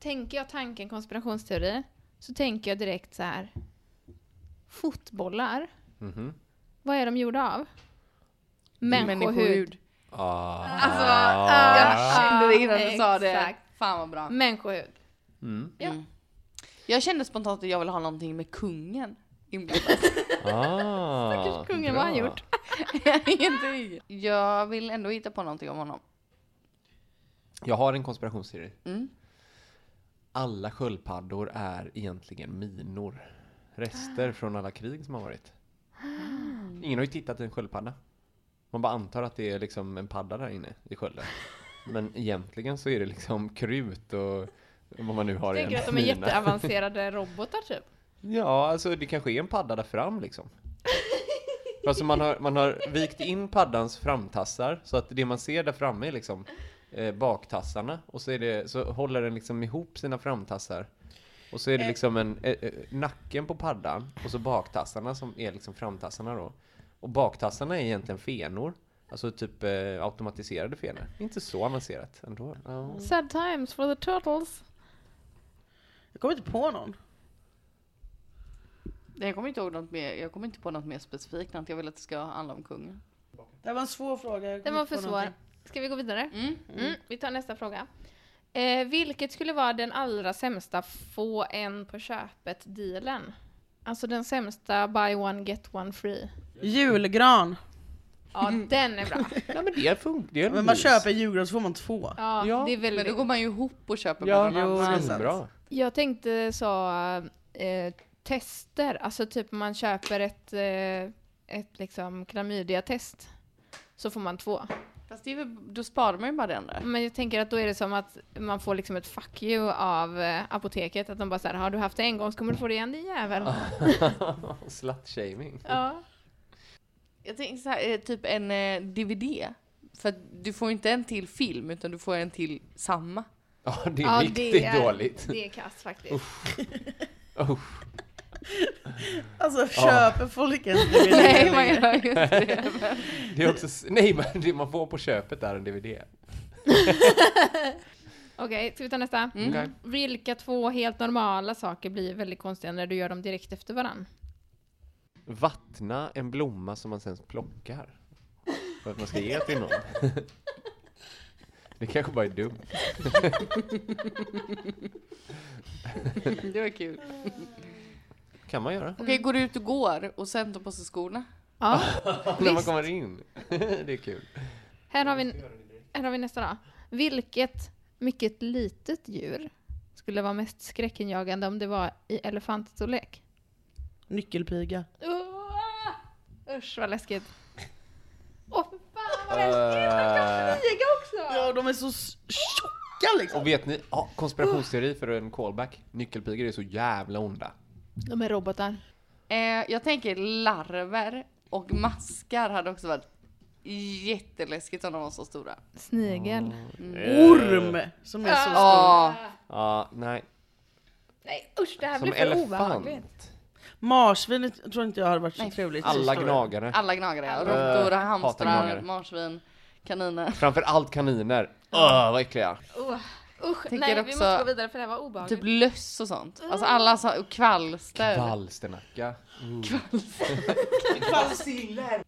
Speaker 3: Tänker jag tanken konspirationsteori så tänker jag direkt så här. Fotbollar,
Speaker 4: Mhm.
Speaker 3: vad är de gjorda av? Människohud.
Speaker 5: Människohud.
Speaker 4: Ah.
Speaker 5: Alltså, jag
Speaker 3: Ah.
Speaker 5: kände det innan du sa det.
Speaker 3: Exakt.
Speaker 5: Fan vad bra.
Speaker 3: Människohud.
Speaker 5: Jag kände spontant att jag ville ha någonting med kungen inblandat.
Speaker 4: Ah.
Speaker 3: Stackars kungen, vad har han
Speaker 4: bra.
Speaker 3: gjort?
Speaker 5: Ingenting. jag vill ändå hitta på någonting om honom.
Speaker 4: Jag har en konspirationsteori.
Speaker 5: Mm.
Speaker 4: Alla sköldpaddor är egentligen minor. Rester från alla krig som har varit. Ingen har ju tittat i en sköldpadda. Man bara antar att det är liksom en padda där inne i skölden. Men egentligen så är det liksom krut och vad man nu har i
Speaker 3: Tänker
Speaker 4: en
Speaker 3: att de är
Speaker 4: mina.
Speaker 3: jätteavancerade robotar typ?
Speaker 4: Ja, alltså det kanske är en padda där fram liksom. Alltså man har, man har vikt in paddans framtassar så att det man ser där framme är liksom eh, baktassarna och så, är det, så håller den liksom ihop sina framtassar. Och så är det liksom en, eh, eh, nacken på paddan och så baktassarna som är liksom framtassarna då. Och baktassarna är egentligen fenor. Alltså typ eh, automatiserade fenor. Inte så avancerat ändå. Ja.
Speaker 3: Sad times for the turtles.
Speaker 6: Jag kommer inte på någon.
Speaker 5: Jag kommer inte ihåg något mer. Jag kommer inte på något mer specifikt än att jag vill att det ska handla om kungen.
Speaker 6: Det här var en svår fråga. jag
Speaker 3: Den
Speaker 6: kommer
Speaker 3: var
Speaker 6: inte
Speaker 3: för
Speaker 6: på
Speaker 3: svår.
Speaker 6: någonting.
Speaker 3: Ska vi gå vidare?
Speaker 5: Mm.
Speaker 3: Mm, vi tar nästa fråga. Eh, vilket skulle vara den allra sämsta få en på köpet-dealen? Alltså den sämsta buy one get one free.
Speaker 6: Julgran.
Speaker 3: Ja, den är bra.
Speaker 4: Nej men det funkar. Det är en
Speaker 6: Men man
Speaker 4: mys.
Speaker 6: köper julgran så får man två.
Speaker 3: Ja,
Speaker 4: Ja,
Speaker 3: det är
Speaker 5: Men då
Speaker 3: väldigt...
Speaker 5: går man ju ihop och köper
Speaker 4: Ja,
Speaker 5: med någon
Speaker 6: jo,
Speaker 5: annan.
Speaker 6: det är
Speaker 4: Svinbra.
Speaker 3: Jag tänkte så eh, tester, alltså typ man köper ett, eh, ett liksom klamydia-test så får man två.
Speaker 5: Fast det är väl, då sparar man ju bara den där.
Speaker 3: Men jag tänker att då är det som att man får liksom ett fuck you av eh, apoteket. Att de bara såhär, har du haft det en gång så kommer du få det igen din jävel.
Speaker 4: Ah. Slut-shaming.
Speaker 3: Ja.
Speaker 5: Jag tänker så här, eh, typ en eh, DVD. För att du får inte en till film utan du får en till samma.
Speaker 4: Ja, det är
Speaker 3: Ja,
Speaker 4: riktigt dåligt.
Speaker 3: Det är kass faktiskt.
Speaker 4: Usch.
Speaker 6: Alltså köper folk ens DVD?
Speaker 5: Nej, man gör ju inte det.
Speaker 4: Det är också... s- Nej, men det man får på köpet är en DVD.
Speaker 3: Okej, ska vi ta nästa?
Speaker 4: Okej.
Speaker 3: Vilka två helt normala saker blir väldigt konstiga när du gör dem direkt efter varann?
Speaker 4: Vattna en blomma som man sen plockar. För att man ska ge till någon. Det kanske bara är dumt.
Speaker 5: Det var kul.
Speaker 4: Kan man göra.
Speaker 5: Okej, går du ut och går och sen tar på sig skorna?
Speaker 3: Ja,
Speaker 4: När man kommer in. Det är kul.
Speaker 3: här har vi, här har vi nästa då. Vilket mycket litet djur skulle vara mest skräckinjagande om det var i elefantstorlek?
Speaker 6: Nyckelpiga.
Speaker 3: Uh, usch vad läskigt. Åh oh, fan vad
Speaker 4: Eh,
Speaker 3: läskigt också!
Speaker 6: Ja de är så s- tjocka liksom.
Speaker 4: och vet ni? Ja, konspirationsteori för en callback. Nyckelpigor är så jävla onda.
Speaker 3: De är robotar.
Speaker 5: Eh, jag tänker larver och maskar hade också varit jätteläskigt om de var så stora.
Speaker 3: Snigel.
Speaker 6: Eh. Orm! Som är så stor.
Speaker 5: Ja,
Speaker 4: Ja, nej.
Speaker 3: Nej usch, det här
Speaker 4: Som
Speaker 3: blir för
Speaker 4: elefant.
Speaker 3: obehagligt.
Speaker 6: Marsvin tror inte jag hade varit så
Speaker 5: Nej,
Speaker 6: trevligt.
Speaker 4: Alla
Speaker 6: Så-
Speaker 4: gnagare.
Speaker 5: Mm. alla gnagare. ja. Råttor,
Speaker 4: Äh, hatar gnagare.
Speaker 5: hamstrar, marsvin, kaniner.
Speaker 4: Framför allt kaniner. Öh, vad äckliga.
Speaker 3: Oh, usch,
Speaker 5: Tänker
Speaker 3: nej vi
Speaker 5: också-
Speaker 3: måste gå vidare för det här var obehagligt.
Speaker 5: Typ löss och sånt. Alltså alla så, och kvalster.
Speaker 4: Valsternacka.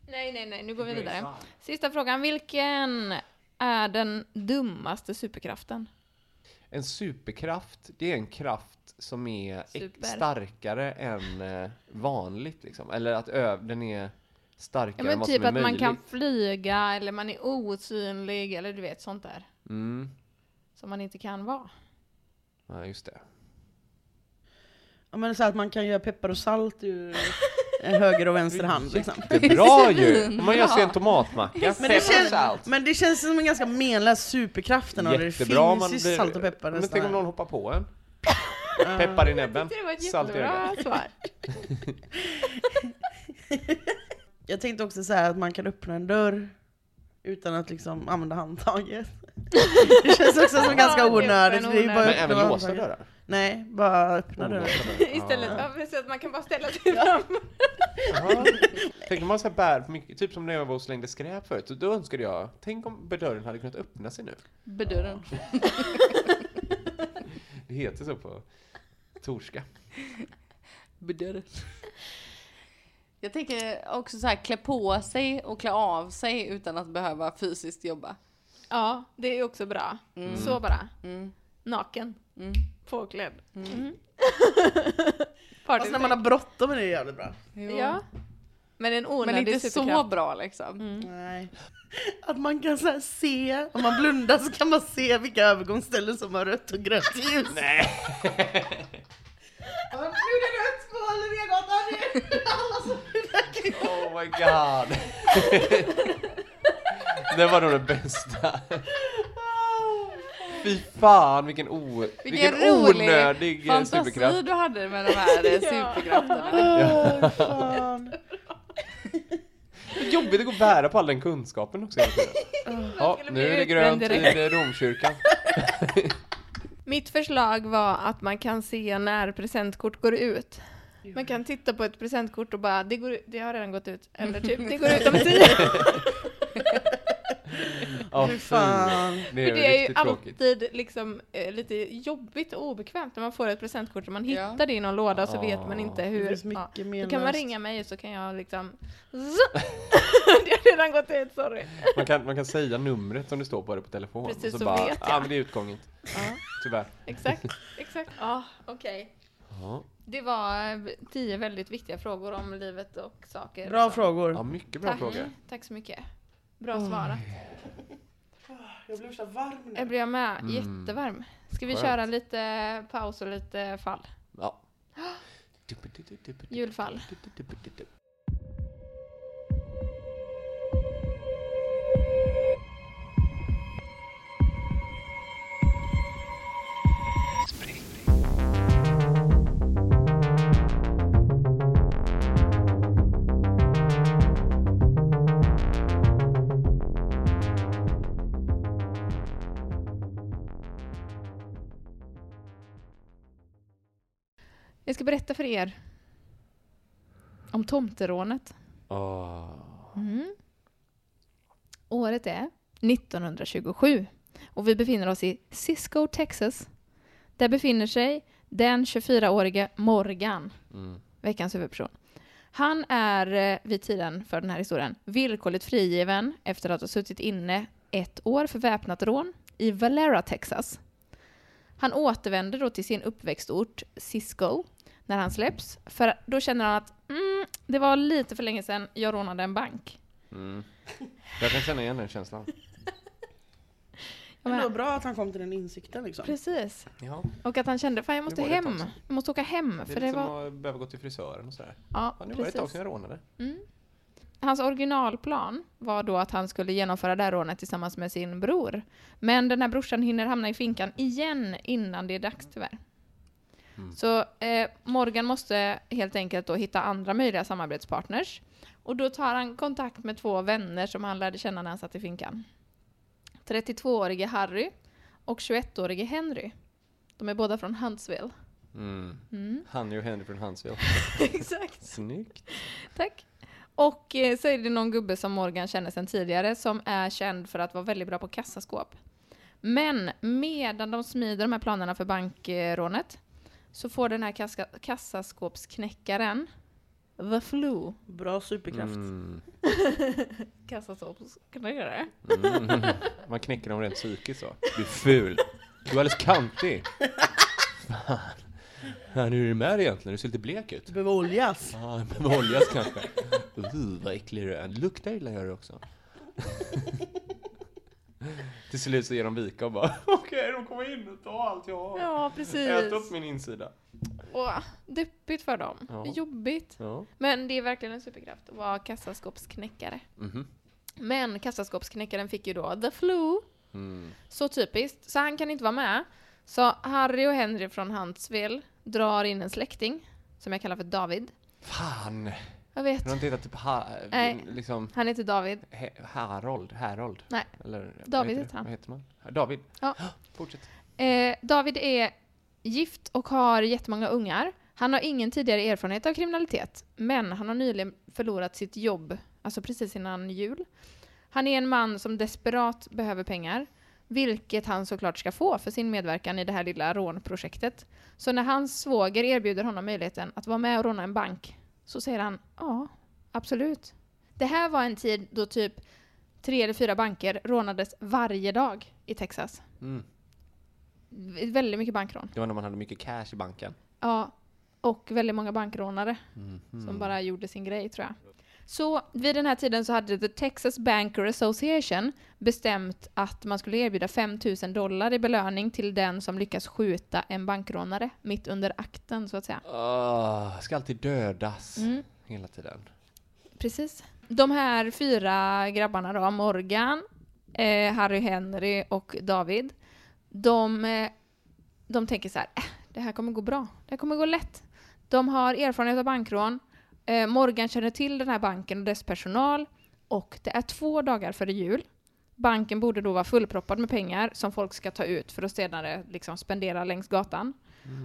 Speaker 3: Nej, nej, nej, nu går vi vidare. Sista frågan, vilken är den dummaste superkraften?
Speaker 4: En superkraft, det är en kraft som är ex-
Speaker 3: Super.
Speaker 4: starkare än eh, vanligt liksom. Eller att ö- den är starkare
Speaker 3: Ja
Speaker 4: än
Speaker 3: men
Speaker 4: vad
Speaker 3: typ
Speaker 4: som är
Speaker 3: att man
Speaker 4: möjligt.
Speaker 3: kan flyga eller man är osynlig eller du vet sånt där.
Speaker 4: Mm.
Speaker 3: Som man inte kan vara.
Speaker 4: Ja, just det.
Speaker 6: Ja, men så att man kan göra peppar och salt ur en höger och vänster hand. Liksom.
Speaker 4: Jättebra ju! Om man gör sig en tomatmacka.
Speaker 6: Men, det känns, men det känns som en ganska menlös superkraften av det. Det finns
Speaker 4: Jättebra om man
Speaker 6: ju
Speaker 4: blir-
Speaker 6: salt och peppar
Speaker 4: Men tänk om någon
Speaker 6: nästan.
Speaker 4: hoppar på en.
Speaker 6: Eh,
Speaker 4: Peppar i näbben.
Speaker 3: Det var ett
Speaker 4: Salt i ögat.
Speaker 3: jättebra svar.
Speaker 6: Jag tänkte också så här att man kan öppna en dörr utan att liksom använda handtaget. Det känns också som ganska
Speaker 3: Ja, det är
Speaker 6: onödigt.
Speaker 3: en
Speaker 6: för Det är ju bara
Speaker 4: Men
Speaker 6: att öppna
Speaker 4: även låsta
Speaker 6: handtaget.
Speaker 4: dörrar.
Speaker 6: Nej, bara öppna dörren.
Speaker 3: Istället, ja. precis, att man kan bara ställa sig fram.
Speaker 4: Ja. Tänk om man så här bär på mycket, typ som när jag var och slängde skräp förut, då önskade jag, tänk om dörren hade kunnat öppna sig nu.
Speaker 5: Bedörren.
Speaker 4: Det heter så på torska.
Speaker 5: Bedörren. Jag tänker också så här klä på sig och klä av sig utan att behöva fysiskt jobba.
Speaker 3: Ja, det är också bra. Så bara. Naken.
Speaker 5: Mm.
Speaker 3: Påklädd. Mm.
Speaker 6: Fast när man har bråttom är det jävligt bra.
Speaker 3: Ja. Men en
Speaker 5: Men
Speaker 3: onödig
Speaker 5: inte så
Speaker 3: superkraft. Mm.
Speaker 5: bra liksom.
Speaker 6: Nej. Att man kan så här se, om man blundar så kan man se vilka övergångsställen som har rött och grönt ljus. Nej. Nu är det rött på Linnégatan, det är alla som
Speaker 4: Oh my god! det var nog det bästa. Fy fan vilken, o, vilken, onödig eh,
Speaker 5: fantasi
Speaker 4: superkraft.
Speaker 5: du hade med de här eh, superkrafterna.
Speaker 6: Åh, fan.
Speaker 4: Det är jobbigt att gå och bära på all den kunskapen också hela tiden. Ja, nu är det grönt i
Speaker 3: direkt.
Speaker 4: eh, Romkyrkan.
Speaker 3: Mitt förslag var att man kan se när presentkort går ut. Man kan titta på ett presentkort och bara, det, går, ut- det har redan gått ut. Eller typ, det går ut om tio.
Speaker 4: Ja,
Speaker 6: Fy
Speaker 4: fy.
Speaker 6: fan.
Speaker 4: Det
Speaker 3: För
Speaker 4: är,
Speaker 3: det är ju
Speaker 4: riktigt tråkigt.
Speaker 3: alltid liksom, eh, lite jobbigt och obekvämt när man får ett presentkort och man
Speaker 5: Ja.
Speaker 3: hittar det i någon låda så vet man inte
Speaker 6: Det
Speaker 3: hur.
Speaker 6: finns mycket
Speaker 3: Då kan man
Speaker 6: menlöst.
Speaker 3: ringa mig så kan jag liksom... Zo! det har redan gått ut, sorry.
Speaker 4: Man kan, man kan säga numret som det står på det på telefon.
Speaker 3: Precis,
Speaker 4: och
Speaker 3: så
Speaker 4: bara,
Speaker 3: vet jag.
Speaker 4: Ja, ah, men det är utgången. Tyvärr.
Speaker 3: Exakt, exakt. Ja, okej.
Speaker 4: Ja,
Speaker 3: Det var eh, tio väldigt viktiga frågor om livet och saker.
Speaker 6: Bra
Speaker 3: Så.
Speaker 4: ja
Speaker 6: frågor.
Speaker 4: mycket bra
Speaker 3: Tack.
Speaker 4: fråga.
Speaker 3: Tack så mycket. Bra svarat.
Speaker 6: Ah, Jag blev så varm Mm.
Speaker 3: Jag blir med. Jättevarm. Ska vi
Speaker 4: Skönt.
Speaker 3: köra lite paus och lite fall?
Speaker 4: Ja.
Speaker 3: Julfall. Jag ska berätta för er om tomterånet.
Speaker 4: Åh.
Speaker 3: Mm. Året är 1927 och vi befinner oss i Cisco, Texas. Där befinner sig den 24-årige Morgan, veckans huvudperson. Han är eh, vid tiden för den här historien villkorligt frigiven efter att ha suttit inne ett år för väpnat rån i Valera, Texas. Han återvänder då till sin uppväxtort Cisco när han släpps, för då känner han att mm, det var lite för länge sedan jag rånade en bank.
Speaker 4: Jag kan känna igen den känslan.
Speaker 6: Det var bra att han kom till den insikten liksom.
Speaker 3: Precis.
Speaker 4: Ja.
Speaker 3: Och att han kände, fan jag måste
Speaker 4: var det ett
Speaker 3: hem.
Speaker 4: tag sedan."
Speaker 3: Jag måste åka hem.
Speaker 4: Det är
Speaker 3: för
Speaker 4: lite
Speaker 3: det
Speaker 4: som
Speaker 3: var...
Speaker 4: att behöva gå till frisören och sådär.
Speaker 3: Ja,
Speaker 4: Ja, nu var det ett tag
Speaker 3: precis.
Speaker 4: sedan jag rånade.
Speaker 3: Hans originalplan var då att han skulle genomföra det här rånet tillsammans med sin bror. Men den här brorsan hinner hamna i finkan igen innan det är dags tyvärr.
Speaker 4: Mm.
Speaker 3: Så eh, Morgan måste helt enkelt då hitta andra möjliga samarbetspartners. Och då tar han kontakt med två vänner som han lärde känna när han satt i finkan. 32-årige Harry och 21-årige Henry. De är båda från Huntsville.
Speaker 4: Mm.
Speaker 3: Mm.
Speaker 4: Hanny och Henry från Huntsville.
Speaker 3: Exakt.
Speaker 4: Snyggt.
Speaker 3: Tack. Och eh, så är det någon gubbe som Morgan känner sedan tidigare som är känd för att vara väldigt bra på kassaskåp. Men medan de smider de här planerna för bankrånet så får den här kaska, kassaskåpsknäckaren The Flu
Speaker 6: Bra superkraft.
Speaker 4: Mm.
Speaker 3: kassaskåpsknäckare.
Speaker 4: Mm. Man knäcker dem rent psykiskt så. Du är ful. Du är alldeles kantig. Fan. Ja, hur är det med dig egentligen? Du ser lite blek ut.
Speaker 6: Du behöver oljas.
Speaker 4: Ja, ah, behöver oljas kanske. Uh, vad äcklig du är. Luktar illa gör du också. Till slut så ger de vika och bara okej, de kommer in och tar allt jag har.
Speaker 3: Ja, precis.
Speaker 4: Ät upp min insida.
Speaker 3: Åh, deppigt för dem.
Speaker 4: Ja.
Speaker 3: Jobbigt.
Speaker 4: Ja.
Speaker 3: Men det är verkligen en superkraft att vara kassaskåpsknäckare.
Speaker 4: Mhm.
Speaker 3: Men kassaskåpsknäckaren fick ju då the flu.
Speaker 4: Mm.
Speaker 3: Så typiskt. Så han kan inte vara med. Så Harry och Henry från Huntsville drar in en släkting, som jag kallar för David.
Speaker 4: Fan!
Speaker 3: Jag vet.
Speaker 4: Har de inte hittat typ ha,
Speaker 3: Nej.
Speaker 4: liksom,
Speaker 3: Han heter David.
Speaker 4: he, Harold? Harold?
Speaker 3: Nej.
Speaker 4: Eller, vad
Speaker 3: David
Speaker 4: heter,
Speaker 3: heter han.
Speaker 4: Vad heter man? David?
Speaker 3: Ja.
Speaker 4: Fortsätt.
Speaker 3: Eh, David är gift och har jättemånga ungar. Han har ingen tidigare erfarenhet av kriminalitet, men han har nyligen förlorat sitt jobb, alltså precis innan jul. Han är en man som desperat behöver pengar, vilket han såklart ska få för sin medverkan i det här lilla rånprojektet. Så när hans svåger erbjuder honom möjligheten att vara med och råna en bank, så säger han ja, absolut. Det här var en tid då typ tre eller fyra banker rånades varje dag i Texas.
Speaker 4: Mm.
Speaker 3: V- Väldigt mycket bankrån.
Speaker 4: Det var när man hade mycket cash i banken.
Speaker 3: Ja, och väldigt många bankrånare
Speaker 4: Mhm.
Speaker 3: som bara gjorde sin grej tror jag. Så vid den här tiden så hade The Texas Banker Association bestämt att man skulle erbjuda 5 000 dollar i belöning till den som lyckas skjuta en bankrånare mitt under akten så att säga.
Speaker 4: Ah, ska alltid dödas.
Speaker 3: Mm.
Speaker 4: Hela tiden.
Speaker 3: Precis. De här fyra grabbarna då, Morgan, eh, Harry Henry och David, de, eh, de tänker så här, äh, det här kommer gå bra, det här kommer gå lätt. De har erfarenhet av bankrån, eh, Morgan känner till den här banken och dess personal och det är två dagar före jul. Banken borde då vara fullproppad med pengar som folk ska ta ut för att senare liksom spendera längs gatan.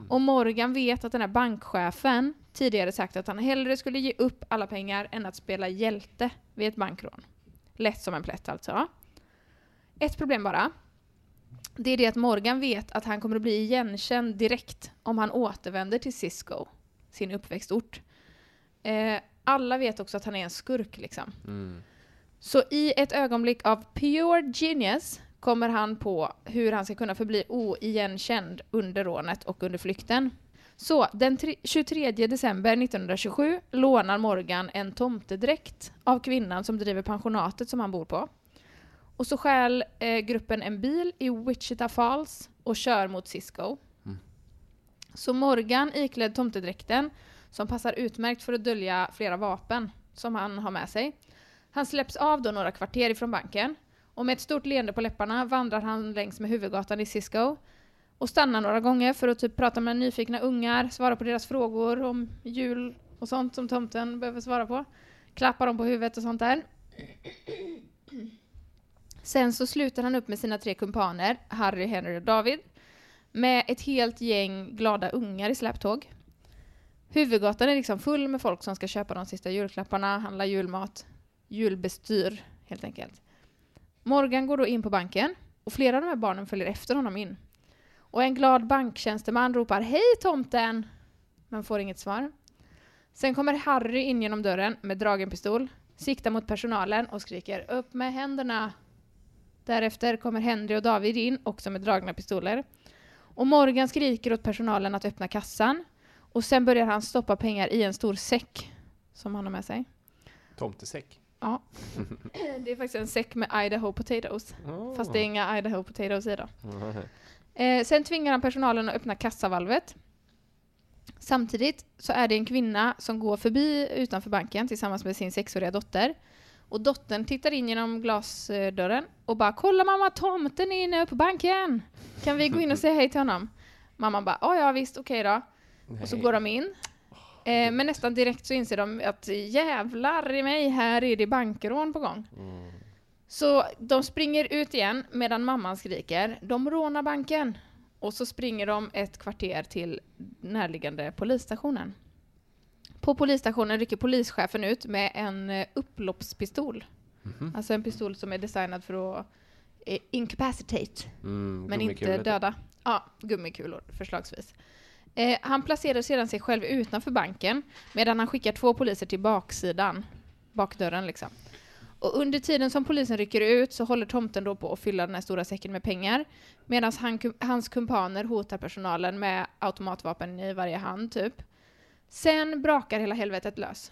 Speaker 3: Och Morgan vet att den här bankchefen tidigare sagt att han hellre skulle ge upp alla pengar än att spela hjälte vid ett bankrån. Lätt som en plätt alltså. Ett problem bara. Det är det att Morgan vet att han kommer att bli igenkänd direkt om han återvänder till Cisco, sin uppväxtort. Eh, alla vet också att han är en skurk liksom.
Speaker 4: Mm.
Speaker 3: Så i ett ögonblick av pure genius kommer han på hur han ska kunna förbli oigenkänd under rånet och under flykten. Så den tre- 23 december 1927 lånar Morgan en tomtedräkt av kvinnan som driver pensionatet som han bor på. Och så stjäl eh, gruppen en bil i Wichita Falls och kör mot Cisco. Så Morgan iklädd tomtedräkten, som passar utmärkt för att dölja flera vapen som han har med sig, han släpps av då några kvarter ifrån banken och med ett stort leende på läpparna vandrar han längs med huvudgatan i Cisco och stannar några gånger för att typ prata med nyfikna ungar, svara på deras frågor om jul och sånt som tomten behöver svara på. Klappa dem på huvudet och sånt där. Sen så slutar han upp med sina tre kumpaner, Harry, Henry och David, med ett helt gäng glada ungar i släptåg. Huvudgatan är liksom full med folk som ska köpa de sista julklapparna, handla julmat julbestyr helt enkelt. Morgan går då in på banken och flera av de här barnen följer efter honom in. Och en glad banktjänsteman ropar ”Hej tomten!” men får inget svar. Sen kommer Harry in genom dörren med dragen pistol, siktar mot personalen och skriker ”Upp med händerna!” Därefter kommer Henry och David in också med dragna pistoler. Och Morgan skriker åt personalen att öppna kassan och sen börjar han stoppa pengar i en stor säck som han har med sig.
Speaker 4: Tomtesäck.
Speaker 3: Ja. Det är faktiskt en säck med Idaho potatoes. Fast det är inga Idaho potatoes i då.
Speaker 4: Mhm.
Speaker 3: Eh, sen tvingar han personalen att öppna kassavalvet. Samtidigt så är det en kvinna som går förbi utanför banken tillsammans med sin sexåriga dotter. Och dottern tittar in genom glasdörren och bara “Kolla mamma, tomten är inne på banken! Kan vi gå in och säga hej till honom?” Mamman bara “Ja, ja visst, okej då”. Och så går de in. Eh, men nästan direkt så inser de att jävlar i mig, här är det bankrån på gång. Så de springer ut igen medan mamman skriker. De rånar banken. Och så springer de ett kvarter till närliggande polisstationen. På polisstationen rycker polischefen ut med en eh, upploppspistol. Alltså en pistol som är designad för att eh, incapacitate.
Speaker 4: Mm,
Speaker 3: Men inte
Speaker 4: gummikulor.
Speaker 3: döda. Ja, gummikulor förslagsvis. Eh, han placerar sedan sig själv utanför banken medan han skickar två poliser till baksidan, bakdörren liksom. Och under tiden som polisen rycker ut så håller tomten då på att fylla den här stora säcken med pengar medan han, hans kumpaner hotar personalen med automatvapen i varje hand typ. Sen brakar hela helvetet lös.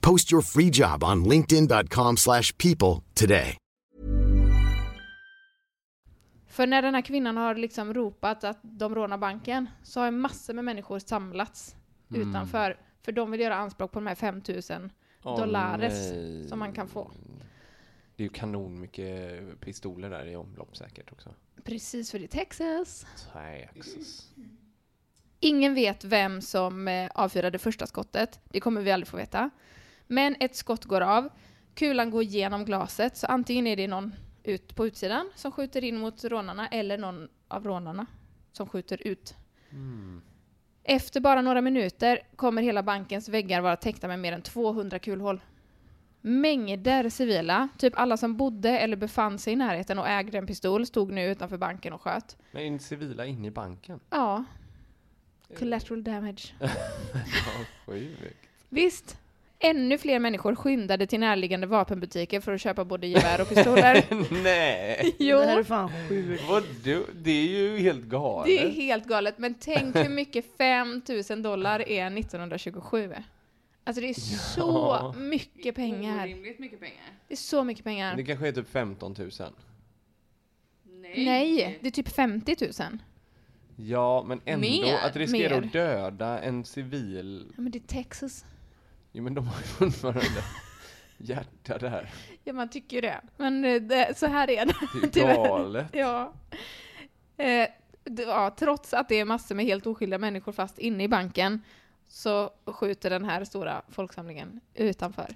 Speaker 7: Post your free job on linkedin.com/people slash people today.
Speaker 3: För när den här kvinnan har liksom ropat att de rånar banken så har massor med människor samlats
Speaker 4: Mm.
Speaker 3: utanför. För de vill göra anspråk på de här 5000
Speaker 4: Åh,
Speaker 3: dollares
Speaker 4: nej.
Speaker 3: som man kan få.
Speaker 4: Det är ju kanon mycket pistoler där i omlopp säkert också.
Speaker 3: Precis för i Texas.
Speaker 4: Texas.
Speaker 3: Ingen vet vem som eh, avfyrade första skottet. Det kommer vi aldrig få veta. Men ett skott går av. Kulan går genom glaset, så antingen är det någon ut på utsidan som skjuter in mot rånarna eller någon av rånarna som skjuter ut. Efter bara några minuter kommer hela bankens väggar vara täckta med mer än 200 kulhål. Mängder civila, typ alla som bodde eller befann sig i närheten och ägde en pistol, stod nu utanför banken och sköt.
Speaker 4: Men civila in i banken.
Speaker 3: Ja. Collateral damage.
Speaker 4: Ja, sjukt.
Speaker 3: Visst. Ännu fler människor skyndade till närliggande vapenbutiker för att köpa både gevär och pistoler.
Speaker 4: Nej!
Speaker 3: jo,
Speaker 6: Det här är fan sjukt.
Speaker 4: Vad du, det är ju helt
Speaker 3: det är
Speaker 4: galet.
Speaker 3: helt galet. Men tänk hur mycket 5000 dollar är 1927. Alltså det är så
Speaker 4: Ja.
Speaker 3: mycket pengar.
Speaker 5: Orimligt mycket pengar.
Speaker 3: Det är så mycket
Speaker 4: Det
Speaker 3: pengar.
Speaker 4: kanske är typ 15 000.
Speaker 5: Nej.
Speaker 3: Nej, det är typ 50 000.
Speaker 4: Ja, men ändå.
Speaker 5: Mer,
Speaker 4: att riskera
Speaker 3: mer.
Speaker 4: att döda en civil.
Speaker 3: Ja, men det är Texas.
Speaker 4: Jo, men de har ju fortfarande hjärta där.
Speaker 3: Ja, man tycker ju det. Men eh, det, så här är det.
Speaker 4: Det är
Speaker 3: Tyvärr.
Speaker 4: galet.
Speaker 3: Ja. Eh, d- ja. Trots att det är massor med helt oskyldiga människor fast inne i banken så skjuter den här stora folksamlingen utanför.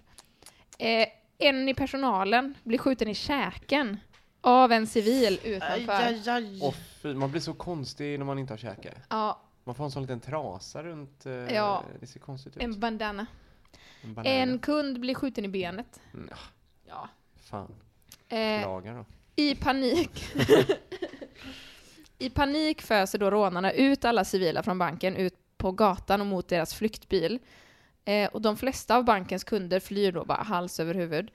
Speaker 3: Eh, en i personalen blir skjuten i käken av en civil
Speaker 6: Aj,
Speaker 3: utanför.
Speaker 6: aj, aj.
Speaker 4: Åh fy, man blir så konstig när man inte har käkat.
Speaker 3: Ja,
Speaker 4: Man får en sån liten trasa runt. eh,
Speaker 3: Ja.
Speaker 4: Det ser konstigt ut.
Speaker 3: En bandana.
Speaker 4: En banan.
Speaker 3: En kund blir skjuten i benet.
Speaker 4: Mm, ah,
Speaker 3: Ja.
Speaker 4: Fan,
Speaker 3: Eh,
Speaker 4: lagar då.
Speaker 3: I panik. I panik föser då rånarna ut alla civila från banken ut på gatan och mot deras flyktbil. Eh, och de flesta av bankens kunder flyr då bara hals över huvud.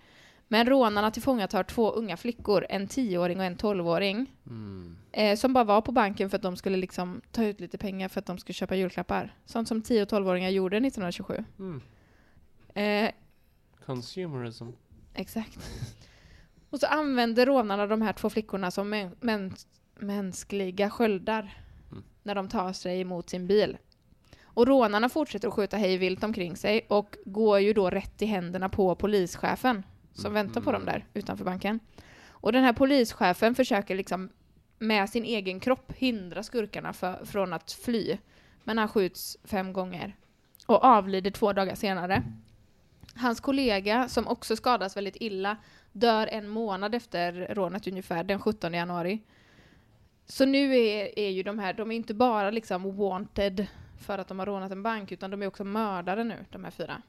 Speaker 3: Men rånarna tillfångatar två unga flickor, en 10-åring och en 12-åring,
Speaker 4: Mm.
Speaker 3: eh, som bara var på banken för att de skulle liksom ta ut lite pengar för att de skulle köpa julklappar. Sånt som 10 och 12-åringar gjorde 1927.
Speaker 4: Mm.
Speaker 3: Eh,
Speaker 4: Consumerism.
Speaker 3: Exakt. Och så använder rånarna de här två flickorna som mä- mäns- mänskliga sköldar
Speaker 4: Mm.
Speaker 3: när de tar sig emot sin bil. Och rånarna fortsätter att skjuta hej vilt omkring sig och går ju då rätt i händerna på polischefen som väntar på dem där utanför banken. Och den här polischefen försöker liksom med sin egen kropp hindra skurkarna för, från att fly. Men han skjuts fem gånger och avlider två dagar senare. Hans kollega, som också skadas väldigt illa, dör en månad efter rånet ungefär, den 17 januari. Så nu är, är ju de här, de är inte bara liksom wanted för att de har rånat en bank, utan de är också mördare nu, de här fyra.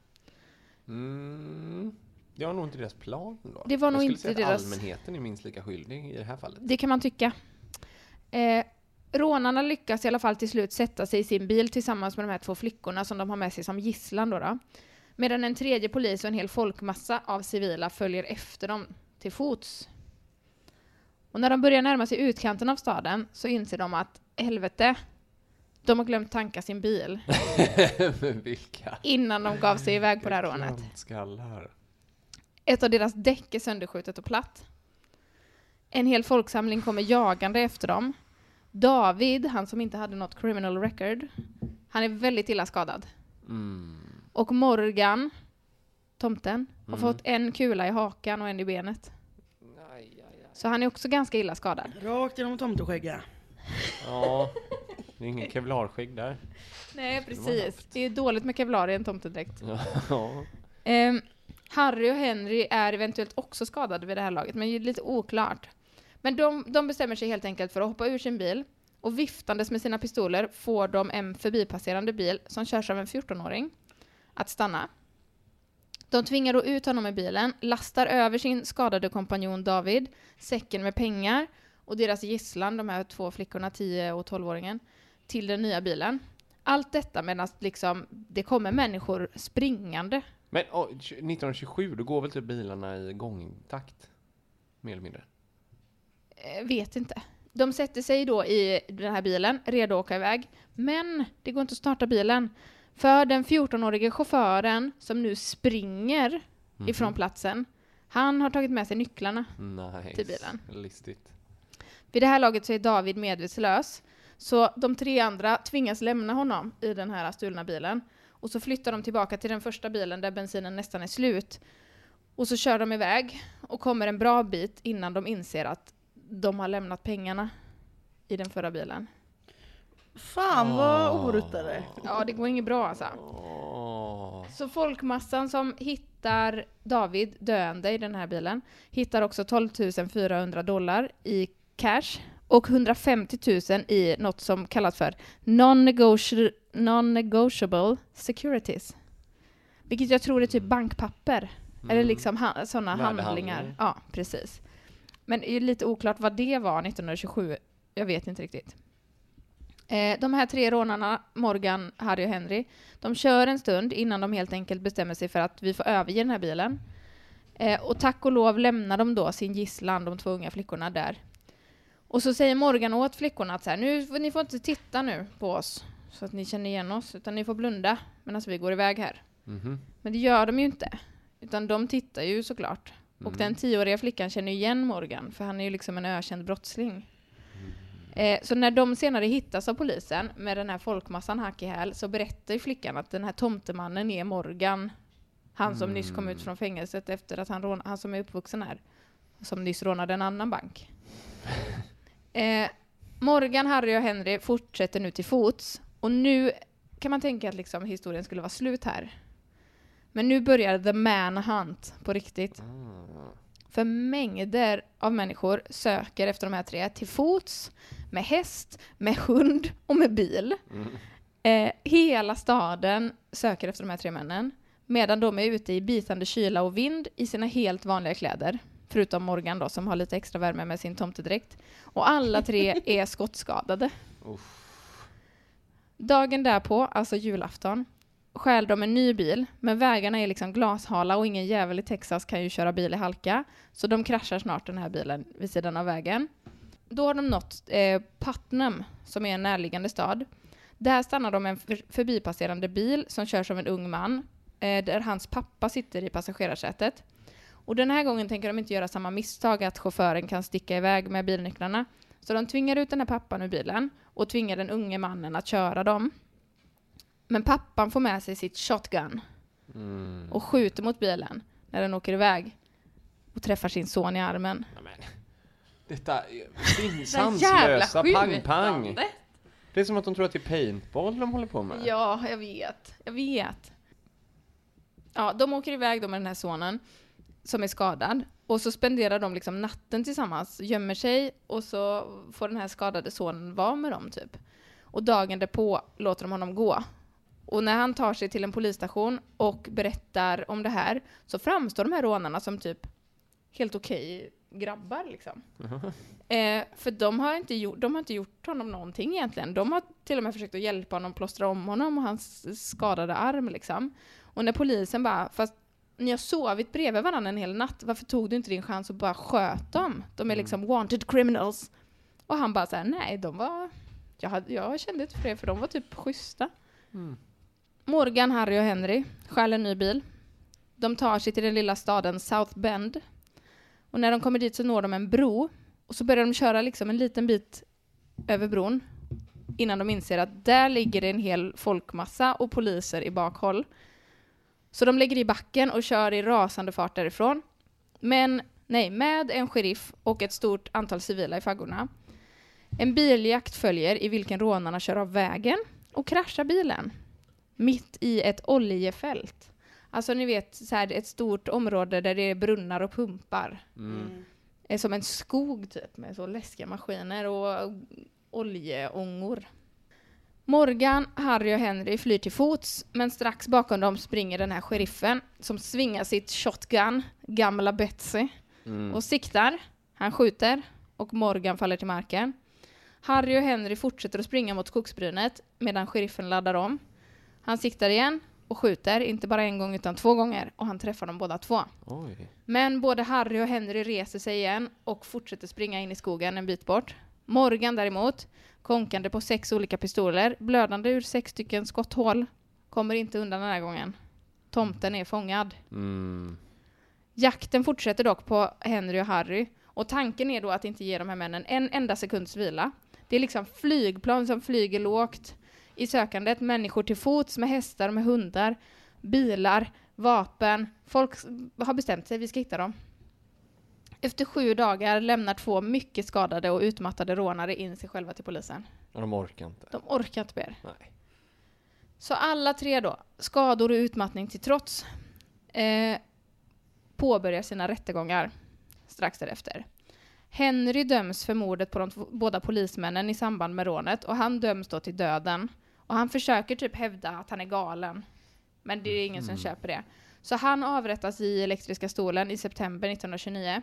Speaker 4: Mm. Det var nog inte deras plan då.
Speaker 3: Det var
Speaker 4: Jag
Speaker 3: nog
Speaker 4: skulle
Speaker 3: inte
Speaker 4: säga att
Speaker 3: deras-
Speaker 4: allmänheten är minst lika skyldig i det här fallet.
Speaker 3: Det kan man tycka. Eh, rånarna lyckas i alla fall till slut sätta sig i sin bil tillsammans med de här två flickorna som de har med sig som gisslan då. då. Medan en tredje polis och en hel folkmassa av civila följer efter dem till fots. Och när de börjar närma sig utkanten av staden så inser de att helvete, de har glömt tanka sin bil
Speaker 4: Men vilka?
Speaker 3: innan de gav sig iväg på det här rånet.
Speaker 4: Klantskallar.
Speaker 3: Ett av deras däck är sönderskjutet och platt. En hel folksamling kommer jagande efter dem. David, han som inte hade något criminal record, han är väldigt illa skadad.
Speaker 4: Mm.
Speaker 3: Och Morgan, tomten, har fått en kula i hakan och en i benet. Så han är också ganska illa skadad.
Speaker 6: Rakt genom tomteskägga.
Speaker 4: Ja, det är ingen kevlarskägg där.
Speaker 3: Nej,
Speaker 4: det vara
Speaker 3: precis. Det är dåligt med kevlar i en tomtedräkt.
Speaker 4: Ja.
Speaker 3: Ehm, Harry och Henry är eventuellt också skadade vid det här laget, men det är lite oklart. Men de, de bestämmer sig helt enkelt för att hoppa ur sin bil och viftandes med sina pistoler får de en förbipasserande bil som körs av en 14-åring att stanna. De tvingar då ut honom i bilen, lastar över sin skadade kompanjon David, säcken med pengar och deras gisslan, de här två flickorna, 10 och 12-åringen, till den nya bilen. Allt detta medan liksom, det kommer människor springande
Speaker 4: Men oh, 1927, då går väl typ bilarna i gångtakt? Mer eller mindre.
Speaker 3: Eh, vet inte. De sätter sig då i den här bilen, redo att åka iväg. Men det går inte att starta bilen. För den 14-årige chauffören som nu springer ifrån platsen, han har tagit med sig nycklarna.
Speaker 4: Nice.
Speaker 3: Till bilen.
Speaker 4: Listigt.
Speaker 3: Vid det här laget så är David medvetslös, så de tre andra tvingas lämna honom i den här stulna bilen. Och så flyttar de tillbaka till den första bilen där bensinen nästan är slut. Och så kör de iväg och kommer en bra bit innan de inser att de har lämnat pengarna i den förra bilen.
Speaker 6: Fan
Speaker 4: Ah.
Speaker 6: vad oruttade.
Speaker 3: Ja, det går inget bra alltså.
Speaker 4: Åh.
Speaker 3: Så folkmassan som hittar David döende i den här bilen hittar också 12 400 dollar i cash och 150 000 i något som kallas för non-negotiable, non-negotiable securities. Vilket jag tror är typ bankpapper. Eller liksom ha, sådana handlingar.
Speaker 4: Värdehandlingar.
Speaker 3: Ja, precis. Men det är ju lite oklart vad det var 1927. Jag vet inte riktigt. Eh, de här tre rånarna, Morgan, Harry och Henry, de kör en stund innan de helt enkelt bestämmer sig för att vi får överge den här bilen. Eh, och tack och lov lämnar de då sin gisslan, de två unga flickorna, där. Och så säger Morgan åt flickorna att så här, nu, får- ni får inte titta nu på oss så att ni känner igen oss, utan ni får blunda medan vi går iväg här.
Speaker 4: Mhm.
Speaker 3: Men det gör de ju inte, utan de tittar ju såklart. Och den tioåriga flickan känner ju igen Morgan, för han är ju liksom en ökänd brottsling. Eh, så när de senare hittas av polisen med den här folkmassan hack i häl så berättar ju flickan att den här tomtemannen är Morgan. Han som nyss kom ut från fängelset efter att han, rån, han som är uppvuxen här. Som nyss rånade en annan bank. Eh, Morgan, Harry och Henry fortsätter nu till fots. Och nu kan man tänka att liksom historien skulle vara slut här. Men nu börjar the manhunt på riktigt. För mängder av människor söker efter de här tre till fots, med häst, med hund och med bil. Eh, hela staden söker efter de här tre männen medan de är ute i bitande kyla och vind i sina helt vanliga kläder. Förutom Morgan då som har lite extra värme med sin tomtedräkt. Och alla tre är skottskadade. Dagen därpå, alltså julafton, stjäl de en ny bil, men vägarna är liksom glashala och ingen jävel i Texas kan ju köra bil i halka. Så de kraschar snart den här bilen vid sidan av vägen. Då har de nått eh, Putnam, som är en närliggande stad. Där stannar de en för- förbipasserande bil som körs av en ung man, eh, där hans pappa sitter i passagerarsätet. Och den här gången tänker de inte göra samma misstag att chauffören kan sticka iväg med bilnycklarna. Så de tvingar ut den här pappan ur bilen och tvingar den unge mannen att köra dem. Men pappan får med sig sitt shotgun och skjuter mot bilen när den åker iväg och träffar sin son i armen.
Speaker 4: Detta är
Speaker 3: jävla
Speaker 4: sanslösa pang-pang.
Speaker 5: skjutandet.
Speaker 4: Det är som att de tror att det är paintball de håller på med.
Speaker 3: Ja, jag vet. Jag vet. Ja, de åker iväg då med den här sonen som är skadad. Och så spenderar de liksom natten tillsammans, gömmer sig och så får den här skadade sonen vara med dem typ. Och dagen därpå låter de honom gå. Och när han tar sig till en polisstation och berättar om det här så framstår de här rånarna som typ helt okej grabbar liksom. Eh, för de har, inte gjort, de har inte gjort honom någonting egentligen. De har till och med försökt att hjälpa honom, plåstra om honom och hans skadade arm liksom. Och när polisen bara, fast ni har sovit bredvid varandra en hel natt, varför tog du inte din chans och bara sköt dem? De är liksom wanted criminals. Och han bara såhär, nej de var, jag, hade, jag kände inte för det för de var typ schyssta. Morgan, Harry och Henry stjäl en ny bil. De tar sig till den lilla staden South Bend. Och när de kommer dit så når de en bro och så börjar de köra liksom en liten bit över bron innan de inser att där ligger det en hel folkmassa och poliser i bakhåll. Så de lägger i backen och kör i rasande fart därifrån. Men nej, med en sheriff och ett stort antal civila i faggorna. En biljakt följer i vilken rånarna kör av vägen och kraschar bilen. Mitt i ett oljefält. Alltså ni vet, så här, ett stort område där det är brunnar och pumpar. Är som en skog typ med så läskiga maskiner och oljeångor. Morgan, Harry och Henry flyr till fots, men strax bakom dem springer den här sheriffen som svingar sitt shotgun, gamla Betsy, och siktar. Han skjuter och Morgan faller till marken. Harry och Henry fortsätter att springa mot skogsbrynet medan sheriffen laddar om. Han siktar igen och skjuter, inte bara en gång utan två gånger, och han träffar dem båda två.
Speaker 4: Oj.
Speaker 3: Men både Harry och Henry reser sig igen och fortsätter springa in i skogen en bit bort. Morgan däremot, konkande på sex olika pistoler, blödande ur sex stycken skotthål, kommer inte undan den här gången. Tomten är fångad.
Speaker 4: Mm.
Speaker 3: Jakten fortsätter dock på Henry och Harry och tanken är då att inte ge de här männen en enda sekunds vila. Det är liksom flygplan som flyger lågt i sökandet, människor till fots med hästar, med hundar, bilar, vapen. Folk s- har bestämt sig, vi ska hitta dem. Efter sju dagar lämnar två mycket skadade och utmattade rånare in sig själva till polisen.
Speaker 4: Och de orkar inte.
Speaker 3: De orkar inte mer.
Speaker 4: Nej.
Speaker 3: Så alla tre då, skador och utmattning till trots, eh, påbörjar sina rättegångar strax därefter. Henry döms för mordet på de två- båda polismännen i samband med rånet och han döms då till döden. Och han försöker typ hävda att han är galen. Men det är ingen som köper det. Så han avrättas i elektriska stolen i september 1929.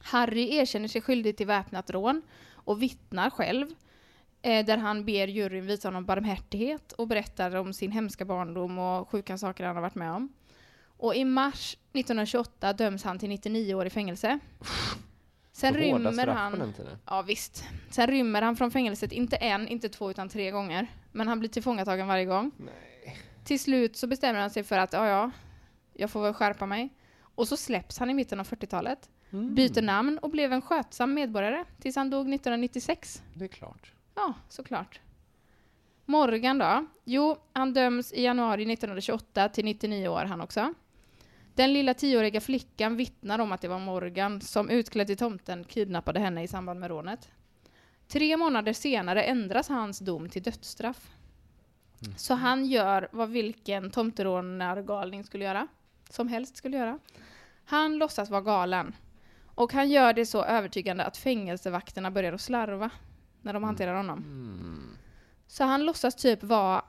Speaker 3: Harry erkänner sig skyldig till väpnat rån och vittnar själv eh, där han ber juryn visa honom barmhärtighet och berättar om sin hemska barndom och sjuka saker han har varit med om. Och i mars 1928 döms han till 99 år i fängelse. Sen
Speaker 4: Så hårda
Speaker 3: rymmer
Speaker 4: straff på
Speaker 3: han...
Speaker 4: den tiden.
Speaker 3: Ja visst. Sen rymmer han från fängelset inte en, inte två utan tre gånger. Men han blir tillfångatagen varje gång. Till slut så bestämmer han sig för att ja, ja, jag får väl skärpa mig. Och så släpps han i mitten av 40-talet. Byter namn och blev en skötsam medborgare tills han dog 1996.
Speaker 4: Det är klart.
Speaker 3: Ja, såklart. Morgan då? Jo, han döms i januari 1928 till 99 år han också. Den lilla tioåriga flickan vittnar om att det var Morgan som utklädd till tomten kidnappade henne i samband med rånet. Tre månader senare ändras hans dom till dödsstraff. Så han gör vad vilken tomterånargalning skulle göra. Som helst skulle göra. Han låtsas vara galen. Och han gör det så övertygande att fängelsevakterna börjar att slarva när de hanterar honom. Så han låtsas typ vara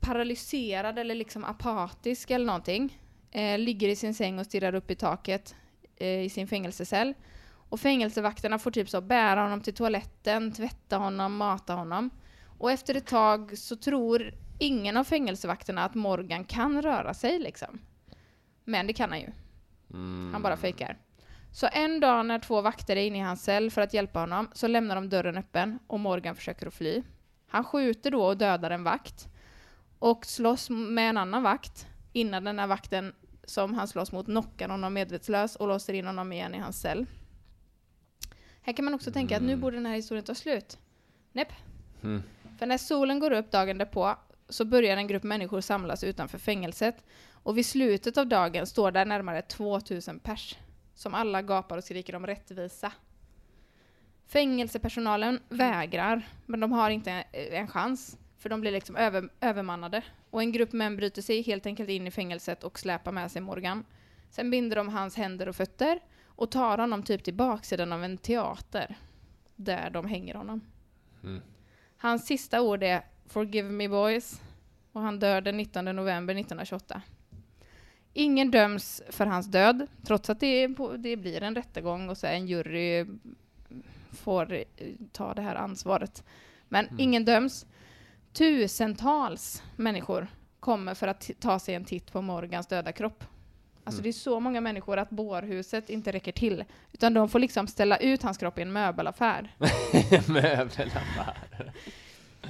Speaker 3: paralyserad eller liksom apatisk eller någonting. Eh, ligger i sin säng och stirrar upp i taket eh, i sin fängelsecell. Och fängelsevakterna får typ så bära honom till toaletten, tvätta honom, mata honom. Och efter ett tag så tror ingen av fängelsevakterna att Morgan kan röra sig liksom. Men det kan han ju. Han bara fejkar. Så en dag när två vakter är inne i hans cell för att hjälpa honom så lämnar de dörren öppen och Morgan försöker att fly. Han skjuter då och dödar en vakt och slåss med en annan vakt innan den här vakten som han slåss mot knockar honom medvetslös och låser in honom igen i hans cell. Här kan man också tänka att nu borde den här historien ta slut. Näpp. För när solen går upp dagen därpå så börjar en grupp människor samlas utanför fängelset och vid slutet av dagen står där närmare 2000 pers som alla gapar och skriker om rättvisa. Fängelsepersonalen vägrar, men de har inte en, en chans för de blir liksom över, övermannade. Och en grupp män bryter sig helt enkelt in i fängelset och släpar med sig Morgan. Sen binder de hans händer och fötter och tar honom typ till baksidan av en teater där de hänger honom. Hans sista ord är “Forgive me boys” och han dör den 19 november 1928. Ingen döms för hans död, trots att det, är på, det blir en rättegång och så är en jury får eh, ta det här ansvaret. Men ingen döms. Tusentals människor kommer för att t- ta sig en titt på Morgans döda kropp. Alltså det är så många människor att bårhuset inte räcker till. Utan de får liksom ställa ut hans kropp i en möbelaffär.
Speaker 4: Möbelaffär.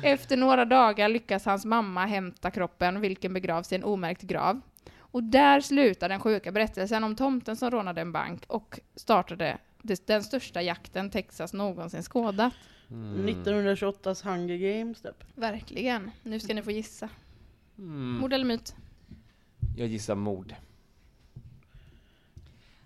Speaker 3: Efter några dagar lyckas hans mamma hämta kroppen, vilken begravs i en omärkt grav. Och där slutar den sjuka berättelsen om tomten som rånade en bank och startade det- den största jakten Texas någonsin skådat.
Speaker 4: Mm.
Speaker 6: 1928s Hunger Games typ.
Speaker 3: Verkligen. Nu ska ni få gissa.
Speaker 4: Mm.
Speaker 3: Mord eller myt?
Speaker 4: Jag gissar mord.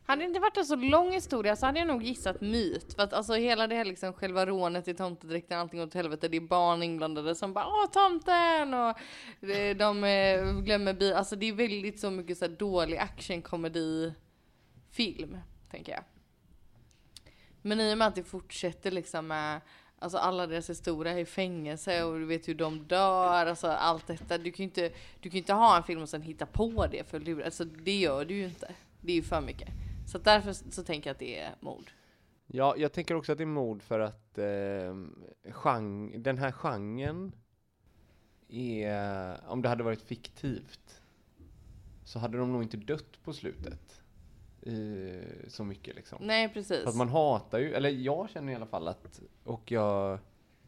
Speaker 5: Hade det inte varit en så lång historia så hade jag nog gissat myt. För att alltså hela det här liksom själva rånet i tomtedräkten, allting åt helvete. Det är barn inblandade som bara åh tomten och de, de eh, glömmer bi. Alltså det är väldigt så mycket så här dålig actionkomedi film, tänker jag. Men i och med att det fortsätter liksom med Alltså alla deras historia i fängelse och du vet hur de dör, alltså allt detta. Du kan ju inte, du kan ju inte ha en film och sen hitta på det för att lura. Alltså det gör du ju inte. Det är ju för mycket. Så att därför s- så tänker jag att det är mord.
Speaker 4: Ja, jag tänker också att det är mord för att eh, gen- den här genren är, om det hade varit fiktivt, så hade de nog inte dött på slutet. I, så mycket liksom.
Speaker 5: Nej precis.
Speaker 4: För att man hatar ju, eller jag känner i alla fall att, och jag,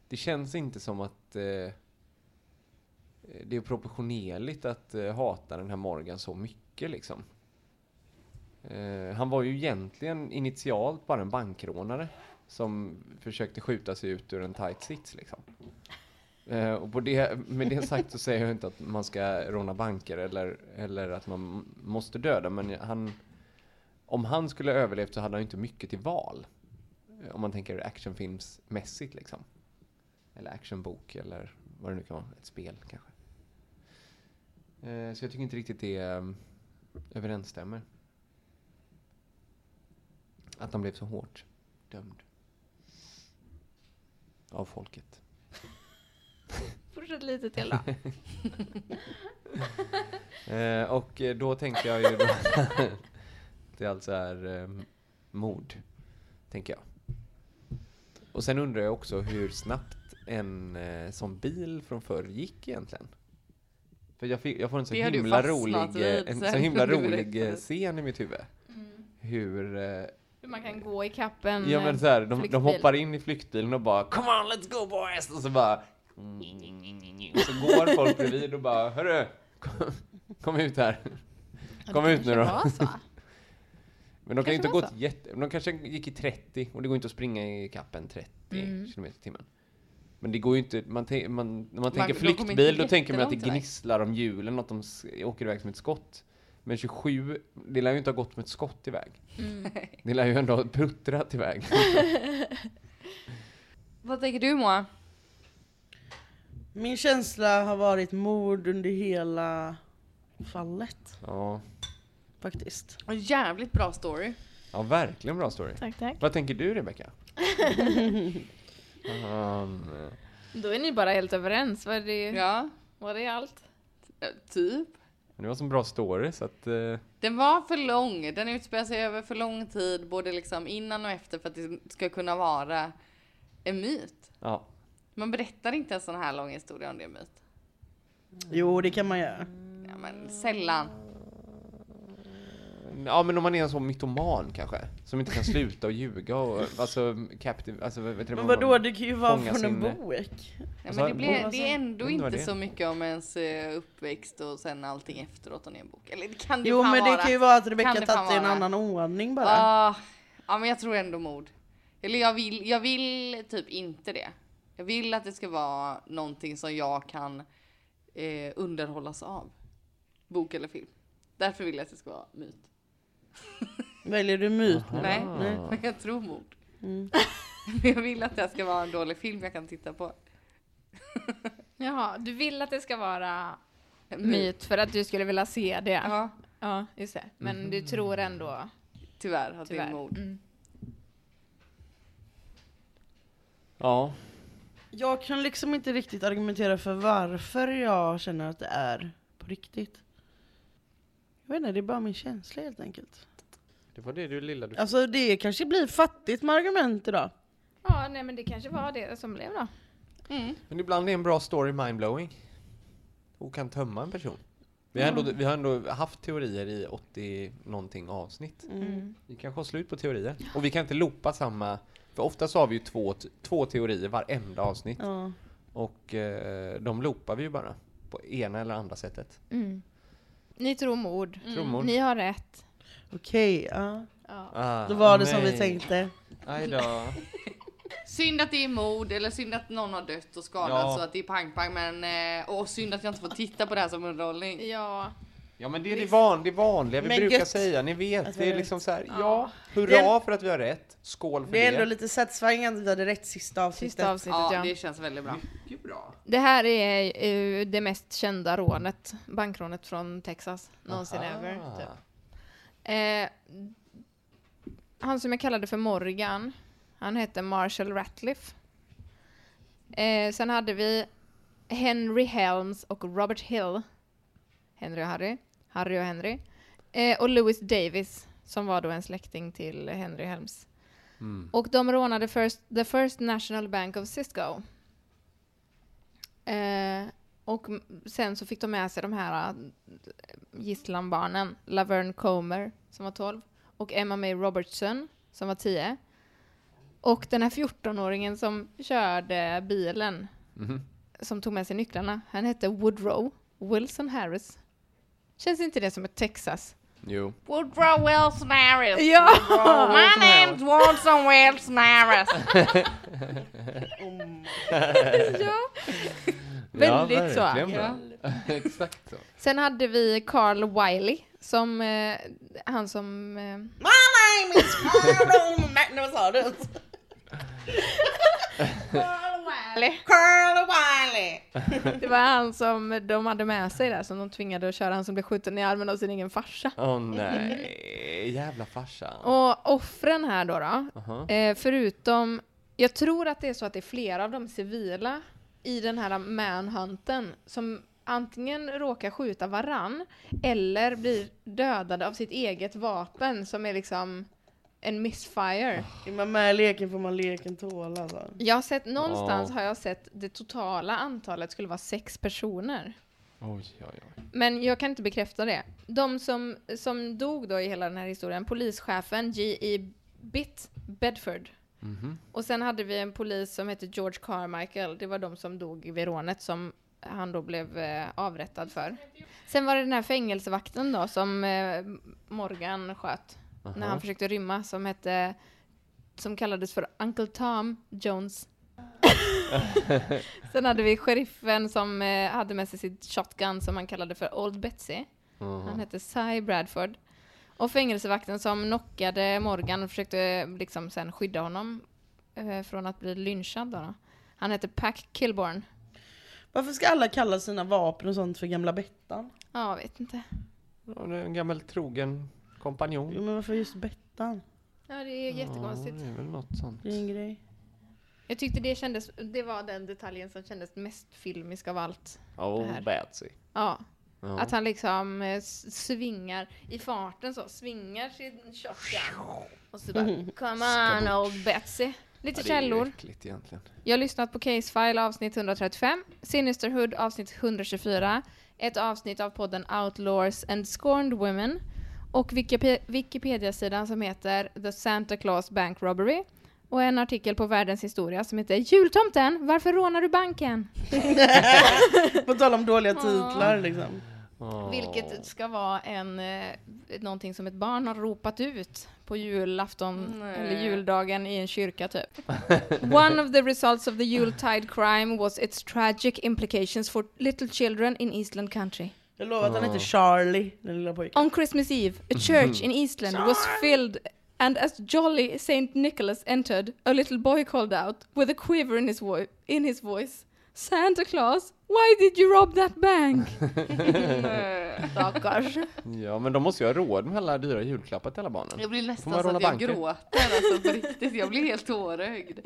Speaker 4: det känns inte som att eh, det är proportionerligt att eh, hata den här Morgan så mycket liksom. Eh, han var ju egentligen initialt bara en bankrånare som försökte skjuta sig ut ur en tight sits liksom. Eh, och på det, med det sagt så säger jag inte att man ska råna banker eller, eller att man måste döda, men han, om han skulle ha överlevt så hade han ju inte mycket till val. Eh, Om man tänker actionfilmsmässigt liksom. Eller actionbok eller vad det nu kan vara. Ett spel kanske. Eh, Så jag tycker inte riktigt det eh, överensstämmer. Att han blev så hårt dömd. Av folket.
Speaker 3: Fortsätt lite till då.
Speaker 4: Eh, Och eh, då tänkte jag ju då att det alltså är eh, mord. Tänker jag. Och sen undrar jag också hur snabbt en eh, sån bil från förr gick egentligen. För jag, fick, jag får en så
Speaker 5: Det har du
Speaker 4: himla rolig,
Speaker 5: fastnat
Speaker 4: eh,
Speaker 5: vid
Speaker 4: en så
Speaker 5: sen
Speaker 4: himla
Speaker 5: du
Speaker 4: rolig eh,
Speaker 5: berättade. Mm.
Speaker 4: scen i mitt huvud. Hur, eh,
Speaker 3: Hur man kan gå i kappen. eh,
Speaker 4: ja men så här, de, de
Speaker 3: flyktbil.
Speaker 4: hoppar in i flyktbilen och bara Come on let's go boys! Och så bara "Nj, nj, nj, nj, nj." Och så går folk bredvid och bara Hörru! Kom, kom ut här! Kom ut nu då! Men de kan ju inte
Speaker 3: Kanske
Speaker 4: gå
Speaker 3: var så.
Speaker 4: jätte... De kanske gick i 30 och det går inte att springa i kappen 30 kilometer i timmen. Men det går ju inte... Man tän- man, när man tänker
Speaker 5: de kommer inte
Speaker 4: flyktbil då tänker man att
Speaker 5: jättelångt
Speaker 4: det
Speaker 5: iväg.
Speaker 4: gnisslar om hjulen, att de s- åker iväg som ett skott. Men 27, det lär ju inte ha gått som ett skott iväg. Det lär ju ändå ha puttrat iväg.
Speaker 5: Vad tänker du Moa?
Speaker 6: Min känsla har varit mord under hela fallet.
Speaker 4: ja.
Speaker 6: faktiskt.
Speaker 5: Och Jävligt bra story.
Speaker 4: Ja, verkligen bra story.
Speaker 3: Tack, tack.
Speaker 4: Vad tänker du Rebecka? um,
Speaker 3: Då är ni bara helt överens. Var det,
Speaker 5: Ja,
Speaker 3: var det allt?
Speaker 5: eh, typ.
Speaker 4: det var en sån bra story så att... eh,
Speaker 5: Den var för lång. Den utspelar sig över för lång tid, både liksom innan och efter för att det ska kunna vara en myt.
Speaker 4: ja.
Speaker 5: Man berättar inte en sån här lång historia om det är en myt.
Speaker 6: Jo, det kan man göra.
Speaker 5: Ja,
Speaker 6: Mm.
Speaker 5: men sällan.
Speaker 4: ja, men om man är en sån mytoman kanske. Som inte kan sluta och ljuga och alltså... Captive, alltså vad heter det?
Speaker 6: Men vadå,
Speaker 4: Man-
Speaker 6: det kan ju vara
Speaker 4: fånga
Speaker 6: från en
Speaker 4: sin-
Speaker 6: bok.
Speaker 5: Ja,
Speaker 4: sa
Speaker 5: men det,
Speaker 4: du?
Speaker 5: blir,
Speaker 4: Vad
Speaker 5: det är ändå
Speaker 4: Undrar
Speaker 5: inte
Speaker 4: vad det är.
Speaker 5: så mycket om ens eh, uppväxt och sen allting efteråt om det är en bok. Eller det kan det
Speaker 6: Jo,
Speaker 5: fan
Speaker 6: men
Speaker 5: vara.
Speaker 6: det kan ju vara att Rebecca
Speaker 5: Kan det fan
Speaker 6: tagit det i en
Speaker 5: vara.
Speaker 6: annan ordning bara.
Speaker 5: Ah, ja, men jag tror ändå mord. Eller jag vill, jag vill typ inte det. Jag vill att det ska vara någonting som jag kan eh, underhållas av. Bok eller film. Därför vill jag att det ska vara myt.
Speaker 6: Väljer du myt nu?
Speaker 5: Nej,
Speaker 6: Ah.
Speaker 5: men jag tror mord. Men jag vill att det här ska vara en dålig film jag kan titta på.
Speaker 3: Jaha, du vill att det ska vara
Speaker 4: Mm.
Speaker 3: myt för att du skulle vilja se det?
Speaker 5: Ja,
Speaker 3: Ja, just det.
Speaker 4: Mhm.
Speaker 3: Men du tror ändå,
Speaker 5: tyvärr att det
Speaker 3: tyvärr.
Speaker 5: är mord.
Speaker 3: Mm.
Speaker 4: Ja.
Speaker 6: Jag kan liksom inte riktigt argumentera för varför jag känner att det är på riktigt. Jag vet inte, det är bara min känsla helt enkelt.
Speaker 4: Det var det du lilla du...
Speaker 6: Alltså det kanske blir fattigt med argument idag.
Speaker 3: Ja, nej men det kanske var det som blev då.
Speaker 4: Men ibland är en bra story mindblowing. Och kan tömma en person. Vi har, ändå, vi har ändå haft teorier i 80 någonting avsnitt.
Speaker 6: Mm.
Speaker 4: Vi kanske har slut på teorier. Och vi kan inte loopa samma. För oftast har vi ju två, t- två teorier varenda avsnitt.
Speaker 6: Ja.
Speaker 4: Och eh, de loopar vi ju bara. På ena eller andra sättet.
Speaker 3: Ni Mm. tror mord.
Speaker 4: Trummor.
Speaker 3: Ni har rätt.
Speaker 6: Okej, ja.
Speaker 4: Ah,
Speaker 6: Då var det som
Speaker 4: nej.
Speaker 6: vi tänkte.
Speaker 4: Aj då.
Speaker 5: Synd att det är mord eller synd att någon har dött och skadats
Speaker 4: Ja.
Speaker 5: så att det är pang-pang men eh, och synd att jag inte får titta på det här som underhållning.
Speaker 3: Ja.
Speaker 4: Ja men det är det, van, det vanliga vi
Speaker 6: Men
Speaker 4: brukar
Speaker 6: gött
Speaker 4: säga. Ni vet,
Speaker 6: vi
Speaker 4: det är
Speaker 6: har
Speaker 4: liksom
Speaker 6: rätt.
Speaker 4: så här. Ja,
Speaker 6: Det
Speaker 4: hurra
Speaker 6: är-
Speaker 4: för att vi har rätt. Skål för
Speaker 6: Det är ändå
Speaker 4: det.
Speaker 6: lite satisfying att vi hade rätt sista avsnittet.
Speaker 3: Sista avsnittet
Speaker 5: Ja,
Speaker 3: ja.
Speaker 5: det känns väldigt bra.
Speaker 4: Mycket bra.
Speaker 3: Det här är eh, det mest kända rånet, bankrånet från Texas någonsin
Speaker 6: Ah.
Speaker 3: över. Typ. Eh, han som jag kallade för Morgan, han hette Marshall Ratliff. Eh, sen hade vi Henry Helms och Robert Hill. Henry och Harry. Harry och Henry. Eh, och Louis Davis, som var då en släkting till Henry Helms. Och de rånade first, The First National Bank of Cisco. Eh, och m- sen så fick de med sig de här eh, gisslanbarnen, Laverne Comer som var 12 och Emma May Robertson som var 10. Och den här 14-åringen som körde bilen, som tog med sig nycklarna, han hette Woodrow Wilson Harris. Känns inte det som ett Texas?
Speaker 4: Jo.
Speaker 5: Woodrow Wilson Harris.
Speaker 3: Ja!
Speaker 5: My name's Wilson Wilson Harris.
Speaker 3: Väldigt så.
Speaker 4: verkligen bra. Exakt så.
Speaker 3: Sen hade vi Carl Wiley, som, eh, han som... Eh,
Speaker 6: My name is Carl O'Malley. Nej, vad sa du? Carl O'Malley.
Speaker 3: Det var han som de hade med sig där som de tvingade att köra, han som blev skjuten i armen av sin egen farsa.
Speaker 4: Åh nej, jävla farsan.
Speaker 3: Och offren här då, då eh, förutom, jag tror att det är så att det är flera av de civila i den här manhunten som antingen råkar skjuta varann eller blir dödade av sitt eget vapen som är liksom en misfire.
Speaker 6: Är man med i leken får man leken tåla. Alltså.
Speaker 3: Jag har sett, någonstans har jag sett det totala antalet skulle vara sex personer.
Speaker 4: Oj, oj, oj.
Speaker 3: Men jag kan inte bekräfta det. De som, som dog då i hela den här historien, polischefen G.E. Bitt Bedford. Och sen hade vi en polis som hette George Carmichael. Det var de som dog vid rånet som han då blev eh, avrättad för. Sen var det den här fängelsevakten då som eh, Morgan sköt när han försökte rymma som hette som kallades för Uncle Tom Jones. Sen hade vi sheriffen som eh, hade med sig sitt shotgun som han kallade för Old Betsy. Han hette Cy Bradford. Och fängelsevakten som knockade Morgan och försökte eh, liksom sen skydda honom eh, från att bli lynchad. Då. då. Han hette Pack Kilborn.
Speaker 6: Varför ska alla kalla sina vapen och sånt för gamla Bettan?
Speaker 3: Ja, jag vet inte.
Speaker 4: Ja, det är En gammal trogen kompanjon.
Speaker 6: Jo, men varför just Bettan?
Speaker 3: Ja, det är jättekonstigt.
Speaker 4: Ja, det är väl något sånt.
Speaker 6: Det är en grej.
Speaker 3: Jag tyckte det kändes, det var den detaljen som kändes mest filmisk av allt.
Speaker 4: Oh,
Speaker 3: här.
Speaker 4: Batsy.
Speaker 3: Ja.
Speaker 4: Ja.
Speaker 3: Att han liksom eh, s- svingar i farten så, svingar sin shotgun. Och så bara, come on old Betsy. Lite
Speaker 4: Ja, det är ju
Speaker 3: källor.
Speaker 4: äckligt egentligen.
Speaker 3: Jag har lyssnat på Casefile avsnitt 135, Sinisterhood avsnitt 124, ett avsnitt av podden Outlaws and Scorned Women och Wikipe- Wikipedia-sidan som heter The Santa Claus Bank Robbery och en artikel på Världens historia som heter Jultomten, varför rånar du banken?
Speaker 6: På tal om dåliga titlar liksom.
Speaker 3: Vilket ska vara en, eh, någonting som ett barn har ropat ut på julafton eller juldagen i en kyrka typ. One of the results of the Yuletide crime was its tragic implications for little children in Eastland country.
Speaker 6: Jag lovar att han heter Charlie, den lilla pojken.
Speaker 3: On Christmas Eve, a church in Eastland was filled and as jolly Saint Nicholas entered, a little boy called out with a quiver in his, vo- in his voice. Santa Claus, why did you rob that bank? Stackars.
Speaker 4: Ja, men de måste ju ha råd med alla dyra julklappar till alla barnen.
Speaker 5: Jag blir
Speaker 4: Får man
Speaker 5: nästan så
Speaker 4: råna
Speaker 5: att jag
Speaker 4: banker?
Speaker 5: gråter alltså på riktigt. Jag blir helt tårögd.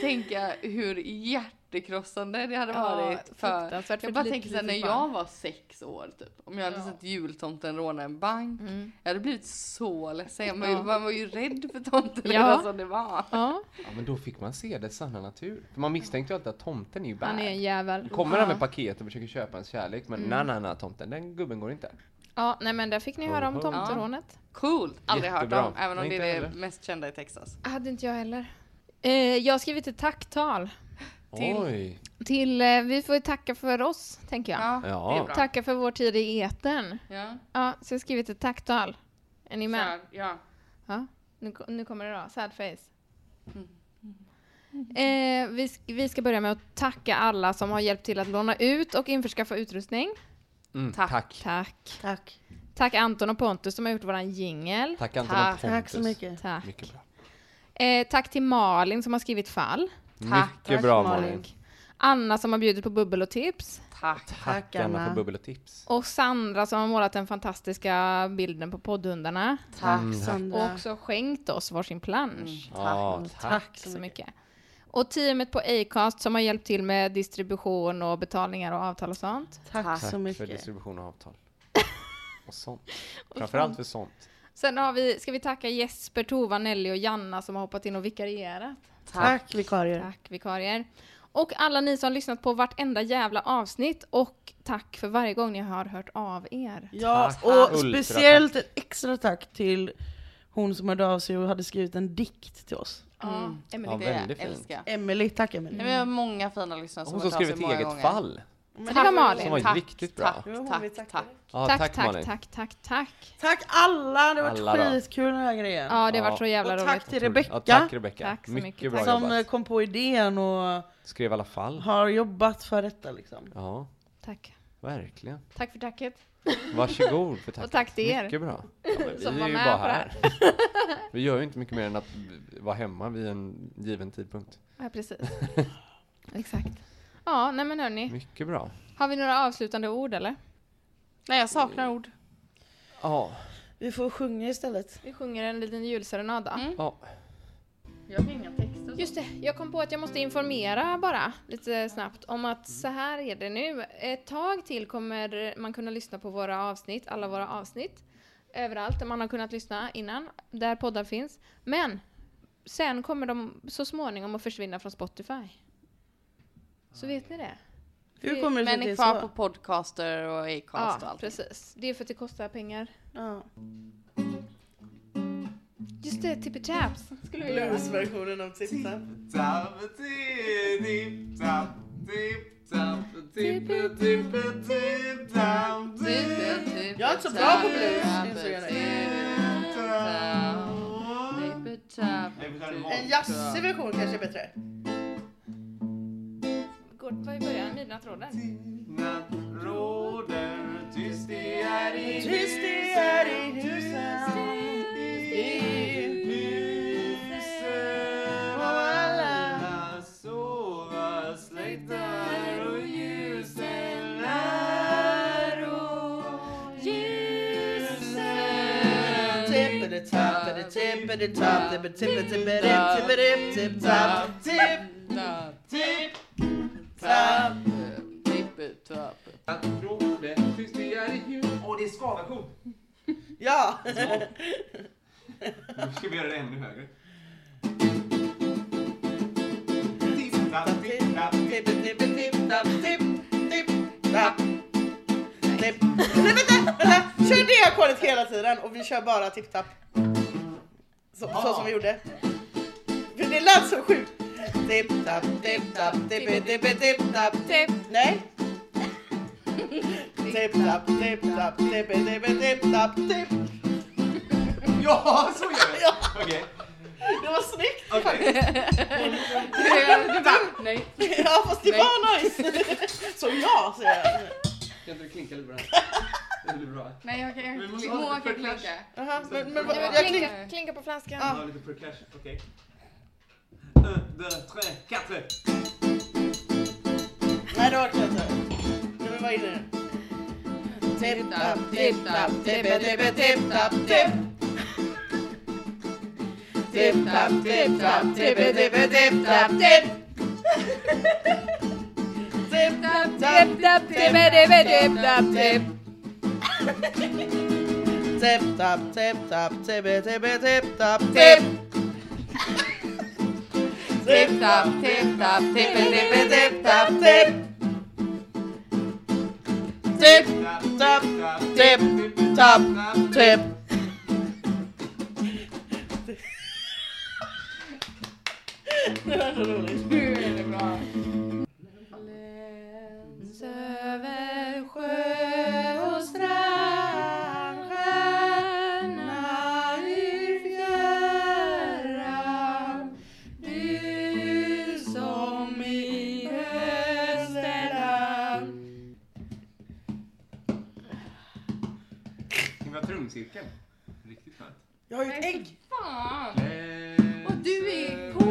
Speaker 5: Tänka hur hjärtekrossande det hade
Speaker 3: Ja,
Speaker 5: varit för...
Speaker 3: fruktansvärt för ett
Speaker 5: Jag bara
Speaker 3: litet,
Speaker 5: tänker såhär när
Speaker 3: litet
Speaker 5: jag
Speaker 3: barn.
Speaker 5: var sex år typ. Om jag hade sett jultomten råna en bank. Jag hade blivit så ledsen. Man,
Speaker 3: Ja.
Speaker 5: man var ju rädd för tomten
Speaker 3: Ja.
Speaker 5: redan som det var.
Speaker 3: Ja,
Speaker 4: Ja, men då fick man se dess sanna natur. För man misstänkte ju alltid att tomten är ju
Speaker 3: han är en
Speaker 4: bad.
Speaker 3: jävel.
Speaker 4: Kommer han med paket och försöker köpa ens kärlek, men na na na tomten, den gubben går inte.
Speaker 3: Ja, nej men där fick ni höra om
Speaker 4: Oho.
Speaker 3: tomterånet.
Speaker 5: Coolt! Aldrig hört
Speaker 4: Jättebra.
Speaker 5: om. Även om
Speaker 4: Nej,
Speaker 5: det
Speaker 4: inte
Speaker 5: är det
Speaker 4: heller.
Speaker 5: mest kända i Texas.
Speaker 3: Hade inte jag heller. Eh, jag har skrivit ett tacktal.
Speaker 5: Till-
Speaker 4: Oj!
Speaker 3: Till, eh, vi får ju tacka för oss, tänker jag.
Speaker 5: Ja,
Speaker 4: Ja.
Speaker 5: det är bra.
Speaker 3: Tacka för vår tid i etern.
Speaker 5: Ja,
Speaker 3: Ja, så jag har skrivit ett tacktal. Är ni med?
Speaker 5: kör. Ja.
Speaker 3: Ja, nu, ko- nu kommer det då. Sad face. Eh, vi, sk- vi ska börja med att tacka alla som har hjälpt till att låna ut och införskaffa utrustning.
Speaker 4: Mm, tack. Tack,
Speaker 3: Tack.
Speaker 6: Tack.
Speaker 3: Tack Anton och Pontus som har gjort våran jingel.
Speaker 4: Anton
Speaker 5: Tack.
Speaker 4: och Pontus.
Speaker 6: Tack så mycket.
Speaker 3: Tack.
Speaker 4: Mycket bra.
Speaker 3: Eh, tack till Malin som har skrivit fall.
Speaker 4: Mycket bra Malin.
Speaker 3: Anna som har bjudit på bubbel och tips.
Speaker 5: Tack.
Speaker 4: Tack Anna för bubbel och tips.
Speaker 3: Och Sandra som har målat den fantastiska bilden på poddhundarna.
Speaker 6: Tack
Speaker 3: Och
Speaker 6: Sandra.
Speaker 3: också skänkt oss varsin plansch.
Speaker 4: Ja, tack.
Speaker 3: Mm, Tack så mycket. Och teamet på Acast som har hjälpt till med distribution och betalningar och avtal och sånt.
Speaker 6: Tack så
Speaker 4: för
Speaker 6: mycket.
Speaker 4: distribution och avtal. Och sånt. Framförallt för sånt.
Speaker 3: Sen har vi, ska vi tacka Jesper, Tova, Nelly och Janna som har hoppat in och vikarierat.
Speaker 6: Tack vikarier.
Speaker 3: Tack vikarier. Och alla ni som har lyssnat på vartenda jävla avsnitt och tack för varje gång ni har hört av er.
Speaker 6: Ja,
Speaker 4: Tack.
Speaker 6: och
Speaker 4: Ultra
Speaker 6: speciellt ett extra tack till hon som hörde av sig och hade skrivit en dikt till oss.
Speaker 3: Mm.
Speaker 4: Ja,
Speaker 5: Det
Speaker 4: väldigt fint.
Speaker 5: älskar jag.
Speaker 6: Emelie, tack Emelie.
Speaker 5: Nej, men jag har många fina lyssnare
Speaker 4: Hon
Speaker 5: som har hört
Speaker 4: som
Speaker 5: av sig
Speaker 4: skrev ett
Speaker 5: många
Speaker 4: eget
Speaker 5: gånger.
Speaker 4: fall.
Speaker 3: Det var
Speaker 4: Som
Speaker 3: Malin.
Speaker 4: var riktigt bra.
Speaker 5: Tack,
Speaker 6: Jo, hon
Speaker 5: tack,
Speaker 6: vill
Speaker 5: tack.
Speaker 6: tacka dig.
Speaker 4: Ja,
Speaker 3: tack,
Speaker 4: tack,
Speaker 3: tack,
Speaker 4: Malin. Mm.
Speaker 3: tack, tack, tack.
Speaker 6: Tack alla, det har varit
Speaker 4: Alla då.
Speaker 6: skitkul den här grejen.
Speaker 3: Ja, det har varit
Speaker 4: Ja.
Speaker 3: så jävla
Speaker 6: och
Speaker 3: roligt.
Speaker 6: tack till
Speaker 4: Ja,
Speaker 6: Rebecka
Speaker 4: tack Rebecka.
Speaker 3: Tack så
Speaker 4: mycket,
Speaker 3: mycket,
Speaker 4: bra
Speaker 3: tack.
Speaker 6: som eh,
Speaker 4: jobbat.
Speaker 6: kom på idén och
Speaker 4: Skrev alla fall.
Speaker 6: har jobbat för detta liksom.
Speaker 4: Ja,
Speaker 3: Tack.
Speaker 4: verkligen.
Speaker 3: Tack för tacket.
Speaker 4: Varsågod för tacket.
Speaker 3: Och tack till er.
Speaker 4: Mycket bra. Ja, men vi
Speaker 3: Som
Speaker 4: är
Speaker 3: var
Speaker 4: ju
Speaker 3: med
Speaker 4: bara
Speaker 3: på det här.
Speaker 4: här. Vi gör ju inte mycket mer än att vara hemma vid en given tidpunkt.
Speaker 3: Ja, precis. Exakt. Ja, nej men hörni.
Speaker 4: Mycket bra.
Speaker 3: Har vi några avslutande ord eller?
Speaker 5: Nej, jag saknar ord.
Speaker 4: Ja,
Speaker 6: Vi får sjunga istället.
Speaker 3: Vi sjunger en liten julserenad då.
Speaker 4: ja.
Speaker 5: Jag har inga texter.
Speaker 3: Just det, jag kom på att jag måste informera bara lite snabbt om att så här är det nu. Ett tag till kommer man kunna lyssna på våra avsnitt, alla våra avsnitt. Överallt där man har kunnat lyssna innan, där poddar finns. Men sen kommer de så småningom att försvinna från Spotify. Så vet ni det?
Speaker 6: Hur kommer det sig
Speaker 5: Men
Speaker 6: att det
Speaker 5: är
Speaker 6: är
Speaker 5: kvar på
Speaker 6: så?
Speaker 5: podcaster och Acast och
Speaker 3: Ja,
Speaker 5: allt.
Speaker 3: precis. Det är för att det kostar pengar.
Speaker 6: Ja.
Speaker 3: Just det, Tippy Taps skulle vi göra.
Speaker 6: Bluesversionen av Tipp Tapp. Jag är inte så bra på blues, insåg jag
Speaker 5: Typ,
Speaker 6: En jazzig version kanske är bättre.
Speaker 3: Går var i början, midnattsråden.
Speaker 6: Tyst det är i husen, i husen och alla
Speaker 3: Ljus.
Speaker 8: tippity top, tippity tippity tippity tip top, tip tip top.
Speaker 4: Åh, det är skavakok!
Speaker 8: Ja!
Speaker 4: Nu ska vi göra det ännu högre.
Speaker 8: Tipp tapp, tipp tipp tipp tapp, tipp tipp tapp. Tipp. Nej vänta, vänta! Kör det ackordet hela tiden och vi kör bara tipp tapp. Så, så som vi gjorde. För det lät så sjukt. Tipp tapp, tipp tapp, tipp tipp tipp tapp.
Speaker 3: Tipp.
Speaker 8: Nej. Tipp tapp, tipp tapp, tipp tipp tipp tapp, tipp.
Speaker 4: Ja, så gör vi! Okej.
Speaker 8: Det var snyggt!
Speaker 5: Nej.
Speaker 8: Ja fast det var nice! Som jag säger. jag.
Speaker 4: Kan inte du klinka lite bra? Det blir bra.
Speaker 5: Nej jag kan
Speaker 4: Vi måste
Speaker 5: inte.
Speaker 4: ha
Speaker 5: Moa
Speaker 4: lite
Speaker 5: kan
Speaker 4: backlash.
Speaker 5: klicka.
Speaker 8: Jaha, men, men,
Speaker 3: Nej, men
Speaker 8: jag klickar.
Speaker 3: klinka, klinka på flaskan.
Speaker 4: Ja, lite per clash. Okej. Un, deux, tre, quatre!
Speaker 8: Nej, det orkar jag inte. Nu vill vi vara inne. Tipp, tapp, tipp, tapp, tippe, tippe, tipp, tapp, tipp. Tipp, tapp, tipp, tapp, tippe, tippe, tipp, tapp, tipp. Tipp, tapp, tapp,
Speaker 3: Tipp, tapp, tippe, tippe, tipp, tapp, tipp.
Speaker 8: tipp, tapp, tipp, tapp, tippe, tippe, tipp, tapp, tipp. Tipp, tapp, tipp, tapp, tippe, tippe, tipp, tapp, tipp. Tipp, tapp, tipp, tapp, tipp.
Speaker 3: Över sjö och strand Stjärna i fjärran Du som i Österland
Speaker 4: Kan vi ha trumcirkel? Riktigt skönt.
Speaker 8: Jag har ju ett ägg.
Speaker 5: Fan.
Speaker 4: Eh,
Speaker 5: Och du är på.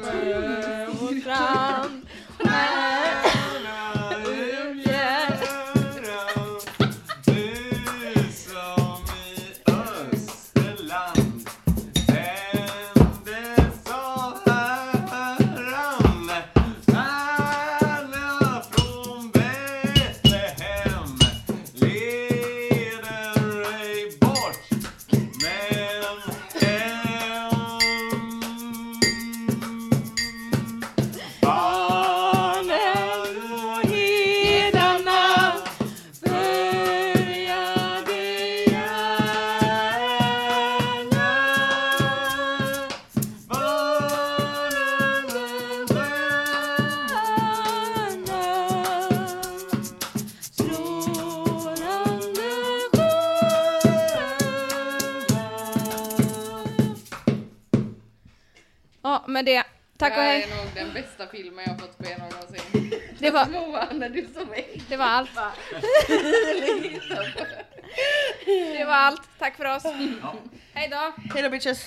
Speaker 4: sjö och
Speaker 3: Fram
Speaker 4: stjärna i fjärran. Du som i Österland tändes av Herran. Stjärna från Betlehem leder ej bort, men hem. Barnen och hedarna började gärna Barnen och stjärnan strålande stjärna
Speaker 3: Ja, med det. Tack och
Speaker 5: Det här
Speaker 3: hej.
Speaker 5: är nog den bästa filmen jag har fått se någonsin.
Speaker 3: Det var,
Speaker 5: Moa, när du som är
Speaker 3: det var allt. Det var allt. Tack för oss. Hej då.
Speaker 8: Hej då bitches.